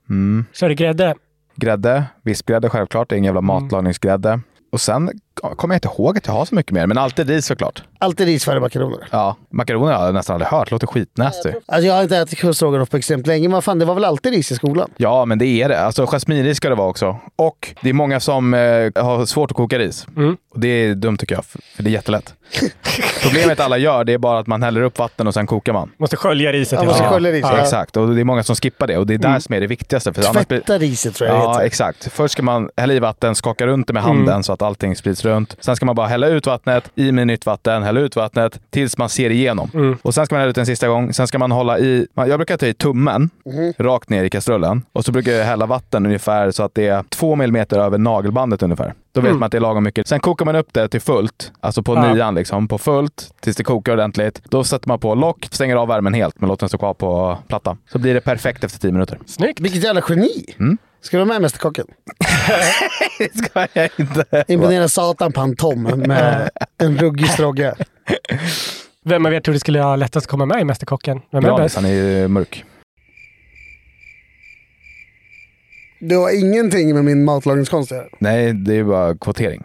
Speaker 4: Kör du grädde? Mm.
Speaker 3: Grädde, vispgrädde självklart. Det är en jävla matlagningsgrädde. Och sen ja, kommer jag inte ihåg att jag har så mycket mer, men alltid ris såklart.
Speaker 2: Alltid ris före makaroner.
Speaker 3: Ja, makaroner har jag nästan aldrig hört. Låter skitnasty.
Speaker 2: Alltså jag har inte ätit korvstroganoff på extremt länge, men fan, det var väl alltid ris i skolan?
Speaker 3: Ja, men det är det. Alltså, jasminris ska det vara också. Och det är många som eh, har svårt att koka ris. Och det är dumt tycker jag, för för det är jättelätt. Problemet alla gör, det är bara att man häller upp vatten och sen kokar man.
Speaker 4: Måste skölja riset.
Speaker 2: Ja, måste
Speaker 4: ja.
Speaker 2: skölja riset. Ja.
Speaker 3: Exakt, och det är många som skippar det. Och det är där som är det viktigaste. För annars blir-
Speaker 2: Tvätta riset tror jag det
Speaker 3: Ja,
Speaker 2: heter.
Speaker 3: exakt. Först ska man hälla i vatten, skaka runt det med handen så att allting sprids runt. Sen ska man bara hälla ut vattnet, i med nytt vatten, hälla ut vattnet tills man ser igenom.
Speaker 4: Mm.
Speaker 3: Och sen ska man hälla ut den sista gång. Sen ska man hålla i, man- jag brukar ta i tummen rakt ner i kastrullen och så brukar jag hälla vatten ungefär så att det är två millimeter över nagelbandet ungefär. Då vet man att det är lagom mycket. Sen kokar man upp det till fullt, alltså på
Speaker 4: Mm. Ja.
Speaker 3: nian liksom, på fullt tills det kokar ordentligt. Då sätter man på lock, stänger av värmen helt men låter den stå kvar på plattan. Så blir det perfekt efter tio minuter.
Speaker 4: Snyggt.
Speaker 2: Vilket jävla geni!
Speaker 3: Mm.
Speaker 2: Ska du vara med i Mästerkocken?
Speaker 3: Det ska jag inte.
Speaker 2: Imponera satan på en Tom med en ruggig strogge.
Speaker 4: Vem av er tror du skulle ha lättast att komma med i Mästerkocken? Vem är
Speaker 3: Granis,
Speaker 4: bäst?
Speaker 3: han är ju mörk.
Speaker 2: Du har ingenting med min matlagningskonst att göra.
Speaker 3: Nej, det är bara kvotering.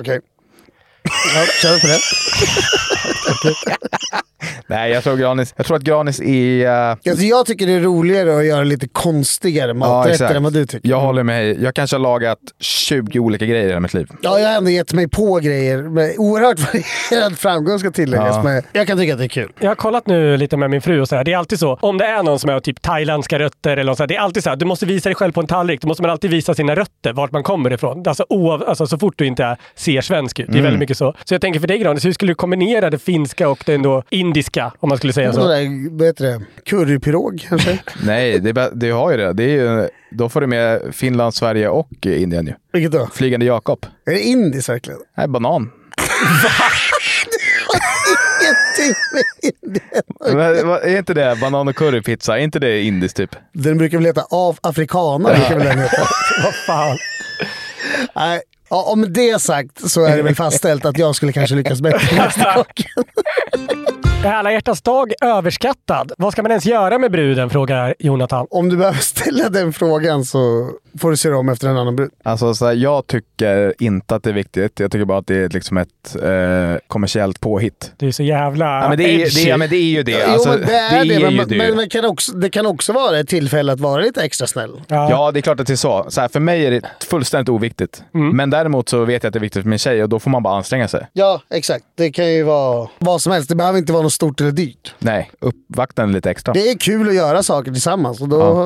Speaker 2: Okej. Ja, kör på det.
Speaker 3: Nej, jag tror, Granis, jag tror att Granis är... eh,
Speaker 2: Alltså, jag tycker det är roligare att göra lite konstigare maträtter
Speaker 3: exakt.
Speaker 2: än vad du tycker.
Speaker 3: Jag håller med. Jag kanske har lagat 20 olika grejer i hela mitt liv.
Speaker 2: Ja, jag har ändå gett mig på grejer med oerhört varierad framgång ska tilläggas.
Speaker 3: Ja.
Speaker 2: Men jag kan tycka att det är kul.
Speaker 4: Jag har kollat nu lite med min fru och så här. Det är alltid så. Om det är någon som är av typ thailändska rötter eller något så här, Det är alltid så här. Du måste visa dig själv på en tallrik. Då måste man alltid visa sina rötter, vart man kommer ifrån. Alltså, oav, alltså så fort du inte är, ser svensk
Speaker 2: Mm.
Speaker 4: ut. Det är väldigt mycket så. Så jag tänker för dig Granis, hur skulle du kombinera det finska och det ändå indiska? Om man skulle säga
Speaker 2: Alltså.
Speaker 4: så.
Speaker 2: Där, vad heter det? Currypirog kanske?
Speaker 3: Nej, det, är bä- det har ju det. det är ju, då får du med Finland, Sverige och Indien ju.
Speaker 2: Vilket då?
Speaker 3: Flygande Jakob.
Speaker 2: Är det indiskt verkligen?
Speaker 3: Nej, banan.
Speaker 2: Ingenting med Indien.
Speaker 3: Men, vad- är inte det banan och currypizza? Är inte det indiskt typ?
Speaker 2: Den brukar väl heta av afrikaner. brukar väl den heta.
Speaker 4: Vad fan.
Speaker 2: Nej, ja, om det sagt så är det väl fastställt att jag skulle kanske lyckas bättre än Mästerkocken.
Speaker 4: Är alla hjärtans dag överskattad? Vad ska man ens göra med bruden, frågar Jonathan.
Speaker 2: Om du behöver ställa den frågan så får du se om efter en annan brud.
Speaker 3: Alltså, så här, jag tycker inte att det är viktigt. Jag tycker bara att det är liksom ett eh, kommersiellt påhitt.
Speaker 4: Det är så jävla
Speaker 3: Ja, men det är-
Speaker 4: edgy.
Speaker 3: det är- ja, men det är ju det.
Speaker 2: Jo,
Speaker 3: Alltså,
Speaker 2: men det
Speaker 3: det
Speaker 2: är det.
Speaker 3: är
Speaker 2: Men,
Speaker 3: ju
Speaker 2: men,
Speaker 3: det.
Speaker 2: men det, kan också, det kan också vara ett tillfälle att vara lite extra snäll.
Speaker 3: Ja. det är klart att det är så. så här, för mig är det fullständigt oviktigt.
Speaker 2: Mm.
Speaker 3: Men däremot så vet jag att det är viktigt för min tjej och då får man bara anstränga sig.
Speaker 2: Ja, exakt. Det kan ju vara vad som helst. Det behöver inte vara något stort eller dyrt.
Speaker 3: Nej, uppvakta henne lite extra.
Speaker 2: Det är kul att göra saker tillsammans och då,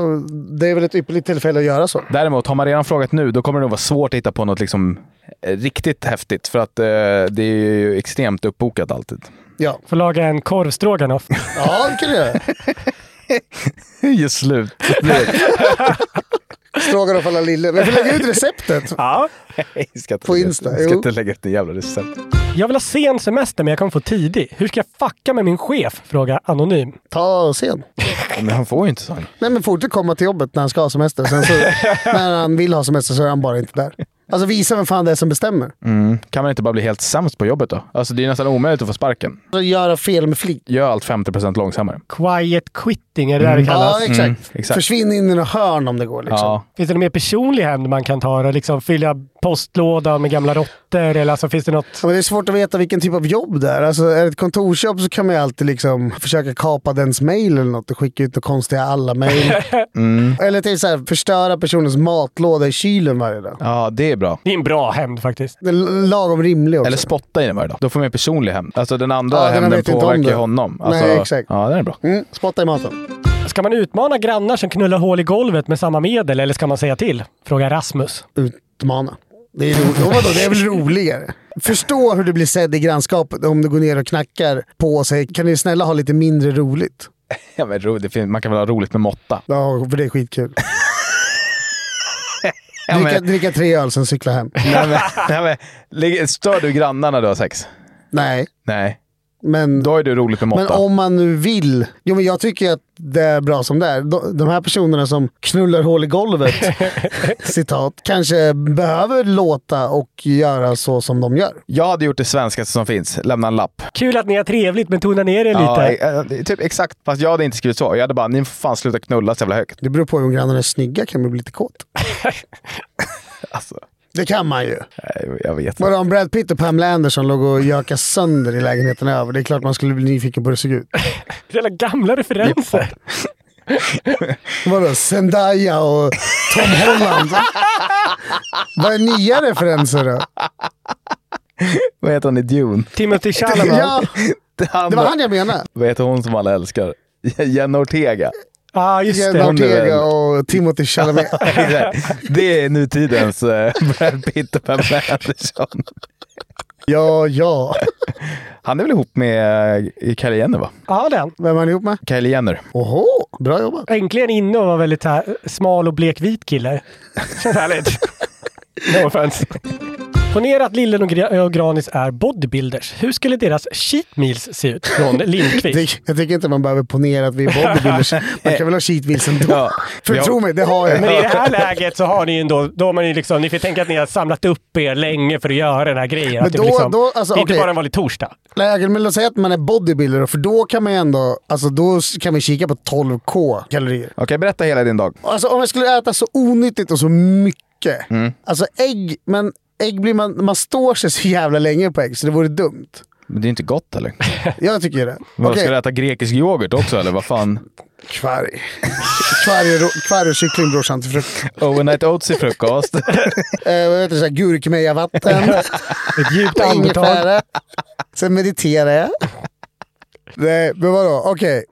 Speaker 2: det är väl ett ypperligt tillfälle att göra så.
Speaker 3: Däremot, har man redan frågat nu, då kommer det nog vara svårt att hitta på något liksom, eh, riktigt häftigt. För att eh, det är ju extremt uppbokat alltid.
Speaker 2: Ja.
Speaker 4: Får laga en korv
Speaker 2: Ja, det kan du göra.
Speaker 3: Just slut.
Speaker 2: Stroganoff alla lille. Vi får lägga ut receptet.
Speaker 4: Ja.
Speaker 2: På Insta.
Speaker 3: Jag ska
Speaker 2: Jo.
Speaker 3: inte lägga ut en jävla recept.
Speaker 4: Jag vill ha sen semester men jag kommer få tidig. Hur ska jag fucka med min chef? Frågar Anonym.
Speaker 2: Ta sen.
Speaker 3: Men han får ju inte sån.
Speaker 2: Nej, men fortsätt komma till jobbet när han ska ha semester. Sen så, när han vill ha semester så är han bara inte där. Alltså visa vem fan det är som bestämmer.
Speaker 3: Mm. Kan man inte bara bli helt sämst på jobbet då? Alltså det är ju nästan omöjligt att få sparken.
Speaker 2: Alltså, göra fel med flit.
Speaker 3: Gör allt 50% långsammare.
Speaker 4: Quiet quitting, är det där det kallas?
Speaker 2: Ja, exakt.
Speaker 3: Mm, exakt.
Speaker 2: Försvinn in i något hörn om det går. Liksom.
Speaker 3: Ja.
Speaker 4: Finns det någon mer personlig hämnd man kan ta? Då? Liksom fylla postlådan med gamla råttor? Eller alltså, finns det något?
Speaker 2: Ja, men det är svårt att veta vilken typ av jobb det är. Alltså, är det ett kontorsjobb så kan man ju alltid liksom försöka kapa dens mail eller något och skicka ut något konstiga alla-mail.
Speaker 3: Mm.
Speaker 2: Eller till så här, förstöra personens matlåda i kylen varje dag.
Speaker 3: Ja, det är bra.
Speaker 4: Det är en bra hämnd faktiskt.
Speaker 2: Det är l- lagom rimlig också.
Speaker 3: Eller spotta i den varje dag. Då får man ju personlig hämnd. Alltså den andra
Speaker 2: Ja, den
Speaker 3: hämnden
Speaker 2: vet inte om
Speaker 3: påverkar ju
Speaker 2: det.
Speaker 3: honom.
Speaker 2: Nej,
Speaker 3: Alltså,
Speaker 2: exakt.
Speaker 3: Ja, den är bra.
Speaker 2: Mm, spotta i maten.
Speaker 4: Ska man utmana grannar som knullar hål i golvet med samma medel eller ska man säga till? Frågar Rasmus.
Speaker 2: Utmana. Det är, roligt. Och vadå, det är väl roligare? Förstå hur du blir sedd i grannskapet om du går ner och knackar på sig. Kan du snälla ha lite mindre roligt?
Speaker 3: Ja, men ro- det fin- man kan väl ha roligt med måtta.
Speaker 2: Ja, för det är skitkul.
Speaker 3: Ja, men-
Speaker 2: Dricka, dricka tre öl, sen cykla hem.
Speaker 3: Nej, men, nej, men, ligger- stör du grannarna du har sex?
Speaker 2: Nej,
Speaker 3: Nej.
Speaker 2: men...
Speaker 3: Då är du roligt med måtta.
Speaker 2: Men om man nu vill. Jo, men jag tycker att det är bra som det är. De- De här personerna som knullar hål i golvet, citat, kanske behöver låta och göra så som de gör.
Speaker 3: Jag hade gjort det svenskaste som finns. Lämna en lapp.
Speaker 4: Kul att ni har trevligt men tona ner er
Speaker 3: Ja,
Speaker 4: lite.
Speaker 3: eh, eh, typ exakt. Fast jag hade inte skrivit så. Jag hade bara, ni får fan sluta knulla så jävla högt.
Speaker 2: Det beror på om grannarna är snygga kan man bli lite kåt.
Speaker 3: Alltså,
Speaker 2: Det kan man ju.
Speaker 3: nej, jag vet inte.
Speaker 2: Vadå, om Brad Pitt och Pamela Anderson låg och gökade sönder i lägenheten över, det är klart man skulle bli nyfiken på hur det såg ut.
Speaker 4: Jävla gamla referenser.
Speaker 2: Vadå, Zendaya och Tom Holland? Vad är nya referenser då?
Speaker 3: Vad heter han i Dune?
Speaker 4: Timothy Chalamet.
Speaker 2: Ja,
Speaker 3: Han,
Speaker 2: det var han jag menade.
Speaker 3: Vad heter hon som alla älskar? Jenna Ortega.
Speaker 4: ah, just
Speaker 2: Jenna
Speaker 4: det.
Speaker 2: Ortega och Timothy Chalamet.
Speaker 3: Det är nutidens eh, Brad Pitt och Pamela Anderson.
Speaker 2: Ja, ja.
Speaker 3: Han är väl ihop med eh, Kylie Jenner, va?
Speaker 4: Ja, den.
Speaker 2: Vem är han ihop med?
Speaker 3: Kylie Jenner.
Speaker 2: Oho, bra jobbat.
Speaker 4: Äntligen inne och var väldigt så här, smal och blekvit kille. Känns härligt. no offense. Ponera att Lillen och, Gra- och Granis är bodybuilders. Hur skulle deras cheat meals se ut? Från Lindqvist.
Speaker 2: Det- Jag tycker inte man behöver ponera att vi är bodybuilders. Man kan väl ha cheat wheels ändå.
Speaker 3: Ja.
Speaker 2: För
Speaker 3: Ja.
Speaker 2: tro mig, det har
Speaker 4: Men
Speaker 2: jag.
Speaker 4: i det här läget så har ni ju ändå, då har man ju liksom, ni får tänka att ni har samlat upp er länge för att göra den här grejen. att det,
Speaker 2: då-
Speaker 4: blir liksom,
Speaker 2: då- alltså,
Speaker 4: det är inte
Speaker 2: okej.
Speaker 4: bara en vanlig torsdag.
Speaker 2: Lägen, men låt säga att man är bodybuilder, för då kan man ju ändå alltså då kan man kika på 12K kalorier.
Speaker 3: Okej, berätta hela din dag.
Speaker 2: Alltså om jag skulle äta så onyttigt och så mycket.
Speaker 3: Mm.
Speaker 2: Alltså ägg, men ägg blir man, man står sig så jävla länge på ägg så det vore dumt.
Speaker 3: Men det är inte gott, eller?
Speaker 2: Jag tycker det.
Speaker 3: Vad,
Speaker 2: Okej,
Speaker 3: Ska du äta grekisk yoghurt också, eller vad fan?
Speaker 2: kvarg. Kvarg och ro- Kvarg och kyckling brorsan till frukost.
Speaker 3: Overnight oats i frukost.
Speaker 2: Eh, vad heter det? så här, Gurkmejavatten.
Speaker 4: Ett djupt
Speaker 2: Och
Speaker 4: andetag.
Speaker 2: ingefära. Sen mediterar jag. Nej, men vadå? Okej.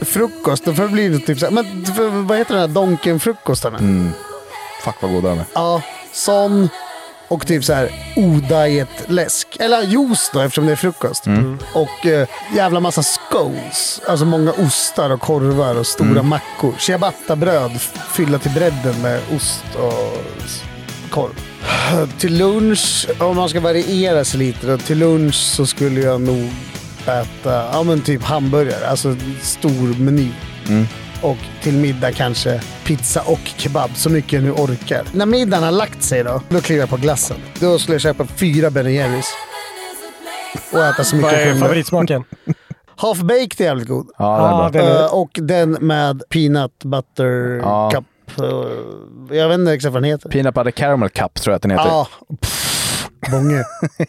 Speaker 2: Frukost, då får det bli typ så här, Men för, vad heter den här donken-frukosten?
Speaker 3: Mm. Fuck vad goda de är.
Speaker 2: Ja, sån. Och typ så här odiet läsk. Eller juice då, eftersom det är frukost. Och eh, jävla massa scones. Alltså många ostar och korvar och stora mackor. Ciabattabröd f- fylla till bredden med ost och s- korv. Till lunch, om man ska variera sig lite då, till lunch så skulle jag nog äta, ja men typ hamburgare. Alltså stor meny.
Speaker 7: 嗯
Speaker 2: Och till middag kanske pizza och kebab, så mycket jag nu orkar. När middagen har lagt sig då, då kliver jag på glassen. Då skulle jag köpa fyra Ben Jerrys. Och äta så mycket
Speaker 4: Vad är
Speaker 2: jag kunde.
Speaker 4: favoritsmaken?
Speaker 2: Half-baked är jävligt god.
Speaker 3: Ja, den är bra.
Speaker 2: Eh, och den med peanut butter
Speaker 3: Ja.
Speaker 2: cup. eh, jag vet inte exakt vad den heter.
Speaker 3: Peanut butter caramel cup tror jag att den heter.
Speaker 2: Ja. Bånge.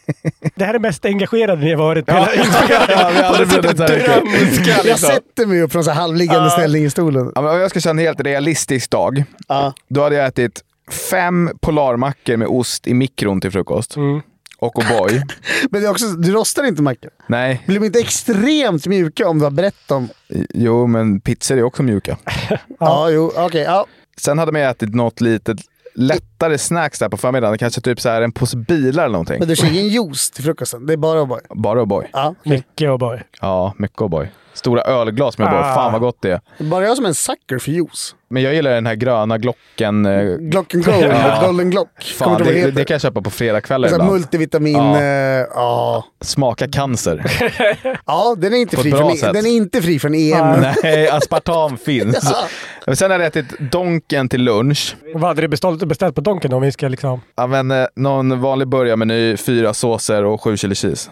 Speaker 4: Det här är det mest engagerade ni har varit på hela
Speaker 3: Ja, vi har aldrig blivit så här riktigt.
Speaker 2: jag
Speaker 4: liksom.
Speaker 2: sätter mig upp från så här halvliggande ställning i stolen.
Speaker 3: Ja, men om jag ska köra en helt realistisk dag, då hade jag ätit fem Polarmackor med ost i mikron till frukost. Och O'boy.
Speaker 2: Mm. Men det är också, du rostar inte mackor.
Speaker 3: Nej,
Speaker 2: Blir de inte extremt mjuka om du har brett dem?
Speaker 3: jo men pizzor är också mjuka.
Speaker 2: Ja, jo, okej. ja.
Speaker 3: Sen hade man ju ätit något litet lättare snacks där på förmiddagen. Kanske typ så här en påse bilar eller någonting.
Speaker 2: Men du kör ingen juice till frukosten. Det är bara O'boy.
Speaker 3: Bara O'boy.
Speaker 2: Ja.
Speaker 4: Mycket O'boy.
Speaker 3: Ja, mycket O'boy. Stora ölglas med O'boy.
Speaker 2: Ah.
Speaker 3: Fan vad gott det är.
Speaker 2: Bara jag som är en sucker för juice.
Speaker 3: Men jag gillar den här gröna Glocken... eh,
Speaker 2: Glocken Gold, Golden Glock.
Speaker 3: Fan,
Speaker 2: Kommer inte ihåg vad det
Speaker 3: det,
Speaker 2: heter.
Speaker 3: det kan jag köpa på fredagskvällar
Speaker 2: Så här
Speaker 3: ibland.
Speaker 2: multivitamin...
Speaker 3: Ja.
Speaker 2: eh, ja.
Speaker 3: Smaka cancer.
Speaker 2: Ja, den är inte,
Speaker 3: På ett
Speaker 2: fri
Speaker 3: bra
Speaker 2: från, E-
Speaker 3: sätt.
Speaker 2: den är inte fri från E EM.
Speaker 3: Nej, aspartam finns. Men Sen har jag ätit Donken till lunch.
Speaker 4: Vad hade du beställt, beställt på Donken om vi ska liksom...
Speaker 3: Ja, men, eh, någon vanlig burgarmeny, fyra såser och sju chili cheese.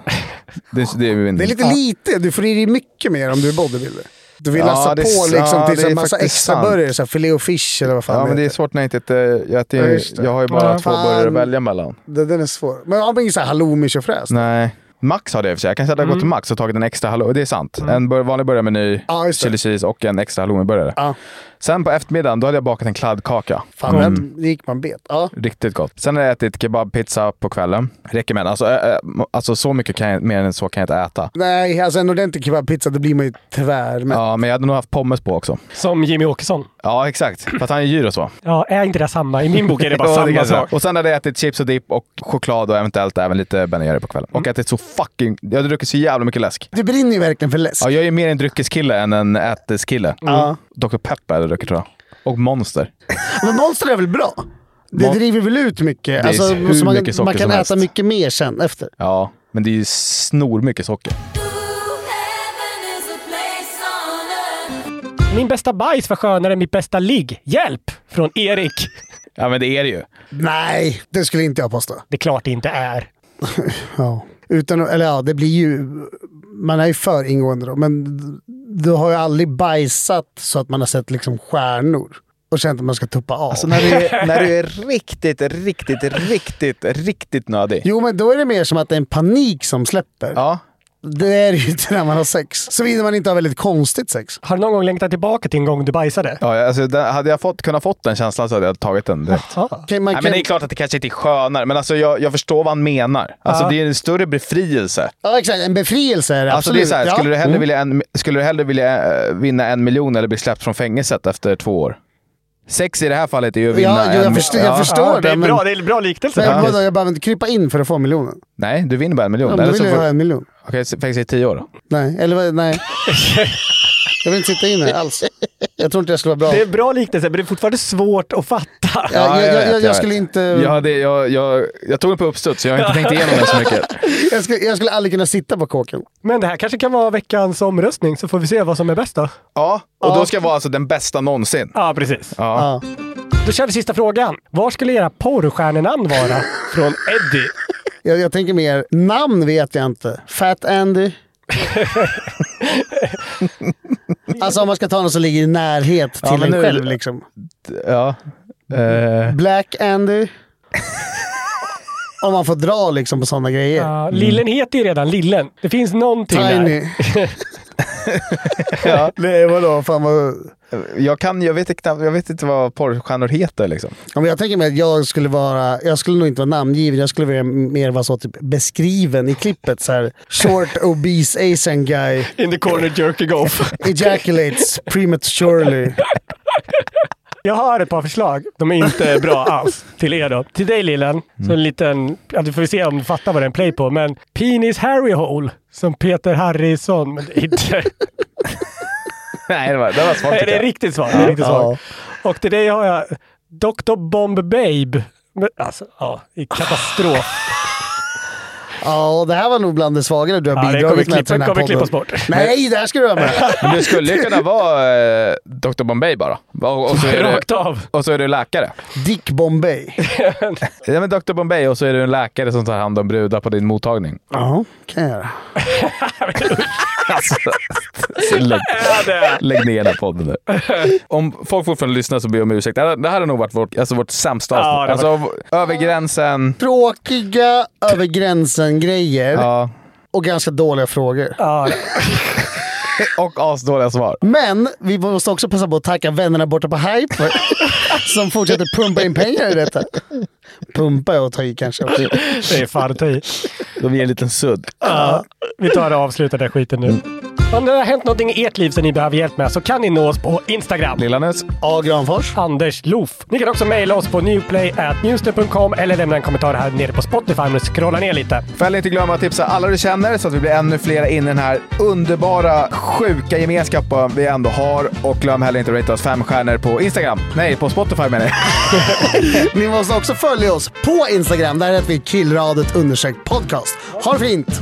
Speaker 3: Det, det, är min-
Speaker 2: Det är lite
Speaker 3: Mm. Ja.
Speaker 2: lite. Du får i dig mycket mer om du är bodybuilder. Du vill
Speaker 3: Ja,
Speaker 2: lassa på
Speaker 3: det är s-
Speaker 2: liksom,
Speaker 3: ja,
Speaker 2: till
Speaker 3: det
Speaker 2: så här
Speaker 3: är
Speaker 2: massa
Speaker 3: faktiskt
Speaker 2: extra
Speaker 3: sant.
Speaker 2: burgare. Så här Filé och fish eller vad fan
Speaker 3: Ja, men
Speaker 2: heter.
Speaker 3: det är svårt när jag inte äter... Jag, äter,
Speaker 2: Ja, just det.
Speaker 3: jag har ju bara
Speaker 2: Ja.
Speaker 3: två
Speaker 2: Fan.
Speaker 3: burgare att välja mellan.
Speaker 2: Det, den är svår. Men har man ingen så här halloumi och fräs?
Speaker 3: Nej. Max har det i och för sig. Jag kanske hade
Speaker 2: Mm.
Speaker 3: gått till Max och tagit en extra hallå. Det är sant. En bur- vanlig burgarmeny,
Speaker 2: Ja, just det.
Speaker 3: chili cheese och en extra halloumiburgare. Sen på eftermiddagen, då hade jag bakat en kladdkaka.
Speaker 2: Fan,
Speaker 3: Mm.
Speaker 2: den gick man bet. Ja.
Speaker 3: Riktigt gott. Sen har jag ätit kebabpizza på kvällen. Räcker med den. Alltså, ä, ä, alltså så mycket kan jag, mer än så kan jag inte äta.
Speaker 2: Nej, alltså en ordentlig kebabpizza, då blir man ju tvär. Men...
Speaker 3: Ja, men jag hade nog haft pommes på också.
Speaker 4: Som Jimmy Åkesson.
Speaker 3: Ja, exakt. För att han är gyros va?
Speaker 4: Ja, är inte det samma? I min bok är det bara
Speaker 3: Ja,
Speaker 4: samma
Speaker 3: kanske är.
Speaker 4: sak.
Speaker 3: Och sen hade jag ätit chips och dipp och choklad och eventuellt även lite Ben Jerry på kvällen.
Speaker 4: Mm.
Speaker 3: Och ätit så fucking... Jag hade druckit så jävla mycket läsk.
Speaker 2: Du brinner ju verkligen för läsk.
Speaker 3: Ja, jag är mer en dryckeskille än en äteskille.
Speaker 4: Mm.
Speaker 2: Ja.
Speaker 3: Dr. Pepper hade jag druckit tror jag. Och Monster.
Speaker 2: Men Monster är väl bra? Det
Speaker 3: Mon-
Speaker 2: driver väl ut
Speaker 3: Det
Speaker 2: mycket?
Speaker 3: är
Speaker 2: Alltså,
Speaker 3: hur
Speaker 2: så man,
Speaker 3: mycket socker
Speaker 2: man kan
Speaker 3: som
Speaker 2: äta
Speaker 3: helst.
Speaker 2: mycket mer sen efter.
Speaker 3: Ja, men det är ju snor mycket socker.
Speaker 4: Min bästa bajs var skönare än mitt bästa ligg. Hjälp! Från Erik.
Speaker 3: Ja, men det är det ju.
Speaker 2: Nej, det skulle inte jag påstå.
Speaker 4: Det är klart det inte är.
Speaker 2: Ja. Utan, eller ja, det blir ju... Man är ju för ingående då, men du har ju aldrig bajsat så att man har sett liksom stjärnor och känt att man ska tuppa av.
Speaker 3: Alltså när du, är, när du är riktigt, riktigt, riktigt, riktigt nödig.
Speaker 2: Jo, men då är det mer som att det är en panik som släpper.
Speaker 3: Ja.
Speaker 2: Det är det ju inte när man har sex. Såvida man inte har väldigt konstigt sex.
Speaker 4: Har du någon gång längtat tillbaka till en gång du bajsade?
Speaker 3: Ja, alltså, det, hade jag fått, kunnat fått den känslan så hade jag tagit den direkt.
Speaker 2: Okej,
Speaker 3: Nej,
Speaker 2: man kan-
Speaker 3: men det är klart att det kanske inte är skönare, men alltså, jag, jag förstår vad han menar. Alltså,
Speaker 2: Ja.
Speaker 3: Det är en större befrielse.
Speaker 2: Ja, exakt. En befrielse är det
Speaker 3: Alltså, det är
Speaker 2: absolut.
Speaker 3: så här,
Speaker 2: ja.
Speaker 3: skulle, du hellre
Speaker 2: Mm.
Speaker 3: vilja en, skulle du hellre vilja eh, vinna en miljon eller bli släppt från fängelset efter två år? Sex i det här fallet är ju att vinna
Speaker 2: Ja, jo, jag
Speaker 3: en...
Speaker 2: förstår- jag förstår
Speaker 4: det är
Speaker 2: men-
Speaker 4: bra, det är en bra liknelse.
Speaker 2: Men
Speaker 4: faktiskt.
Speaker 2: vadå, jag behöver inte krypa in för att få miljonen?
Speaker 3: Nej, du vinner bara en
Speaker 2: Ja,
Speaker 3: miljon.
Speaker 2: men då
Speaker 3: Eller
Speaker 2: vill
Speaker 3: så
Speaker 2: jag
Speaker 3: får-
Speaker 2: ha en miljon.
Speaker 3: Okej, så fängelse i tio år då.
Speaker 2: Nej, eller vad- nej. Jag vill inte sitta inne alls. Jag tror inte jag skulle vara bra.
Speaker 4: Det är en bra liknelse, men det är fortfarande svårt att fatta.
Speaker 2: Ja, jag- jag- jag
Speaker 3: vet,
Speaker 2: skulle
Speaker 3: vet.
Speaker 2: inte-
Speaker 3: Jag, hade, jag, jag, jag tog den på uppstuds, så jag har inte tänkt igenom den så mycket.
Speaker 2: Jag skulle, jag skulle aldrig kunna sitta på kåken.
Speaker 4: Men det här kanske kan vara veckans omröstning, så får vi se vad som är bäst då.
Speaker 3: Ja, och då ska jag vara alltså den bästa någonsin.
Speaker 4: Ja, precis.
Speaker 3: Ja.
Speaker 4: Då kör vi sista frågan. Var skulle era porrstjärnenamn vara? Från Eddie.
Speaker 2: Jag, jag tänker mer, namn vet jag inte. Fat Andy. alltså om man ska ta någon som ligger i närhet till
Speaker 3: Ja, men
Speaker 2: en
Speaker 3: nu-
Speaker 2: själv liksom.
Speaker 3: Ja. Eh,
Speaker 2: Black Andy. om man får dra liksom på sådana grejer.
Speaker 4: Ja, Lillen heter ju redan Lillen. Det finns någonting
Speaker 2: Tiny.
Speaker 4: där.
Speaker 3: ja.
Speaker 2: Nej vadå, fan vad...
Speaker 3: Jag, kan, jag, vet inte, knappt- jag vet inte vad porrstjärnor heter liksom.
Speaker 2: Ja, men jag tänker mig att jag skulle vara, jag skulle nog inte vara namngiven, jag skulle vilja mer vara så typ beskriven i klippet. Så här, short obese Asian guy
Speaker 4: In the corner jerking off.
Speaker 2: ejaculates prematurely.
Speaker 4: Jag har ett par förslag. De är inte bra alls. Till er då. Till dig Lillen. Så en liten, ja, du får vi se om du fattar vad den play på, men Penis Harry Hole. Som Peter Harrison. Men det är inte...
Speaker 3: Nej, det var, det var svårt.
Speaker 4: Nej, det är
Speaker 3: tycker jag.
Speaker 4: riktigt svagt. Det är riktigt
Speaker 3: Ja.
Speaker 4: svagt. Och till dig har jag Dr. Bomb Babe. Men, alltså, ja, i katastrof.
Speaker 2: Ja, det här var nog bland det svagare du har
Speaker 4: Ja, det kommer
Speaker 2: bidragit med till
Speaker 4: klippa-
Speaker 2: den här
Speaker 4: kommer
Speaker 2: podden.
Speaker 4: klippas bort.
Speaker 2: Nej, det här ska du vara med.
Speaker 3: Men du skulle ju kunna vara eh, Dr. Bombay bara. Och, och, så är
Speaker 4: Rakt
Speaker 3: du,
Speaker 4: av.
Speaker 3: och så är du läkare.
Speaker 2: Dick Bombay.
Speaker 3: Ja, men Dr. Bombay och så är du en läkare som tar hand om brudar på din mottagning.
Speaker 2: Ja, kan jag göra.
Speaker 3: Alltså, så lägg, lägg ner den här podden nu. Om folk fortfarande lyssnar så ber jag om ursäkt. Det här- Det här har nog varit vårt, alltså vårt sämsta
Speaker 2: Ja,
Speaker 3: avsnitt.
Speaker 2: det
Speaker 3: alltså,
Speaker 2: har
Speaker 3: av- Över gränsen.
Speaker 2: Tråkiga över gränsen-grejer och ganska dåliga frågor.
Speaker 3: och asdåliga svar.
Speaker 2: Men vi måste också passa på att tacka vännerna borta på Hyper som fortsätter pumpa in pengar i detta. Pumpa är att ta i kanske också.
Speaker 4: Det är fan att ta i.
Speaker 3: De ger en liten sudd.
Speaker 4: Ja, vi tar och avslutar den här skiten nu. Om det har hänt någonting i ert liv som ni behöver hjälp med så kan ni nå oss på Instagram.
Speaker 3: Lillanes.
Speaker 2: A. Granfors.
Speaker 4: Anders Loof. Ni kan också mejla oss på newplay.newster.com eller lämna en kommentar här nere på Spotify om ni scrollar ner lite.
Speaker 3: Fäll inte glömma att tipsa alla du känner så att vi blir ännu fler in i den här underbara, sjuka gemenskapen vi ändå har. Och glöm heller inte att rate oss fem stjärnor på Instagram. Nej, på Spotify menar jag.
Speaker 2: Ni måste också följa oss på Instagram. Där heter vi killradet undersökt podcast. Ha det fint!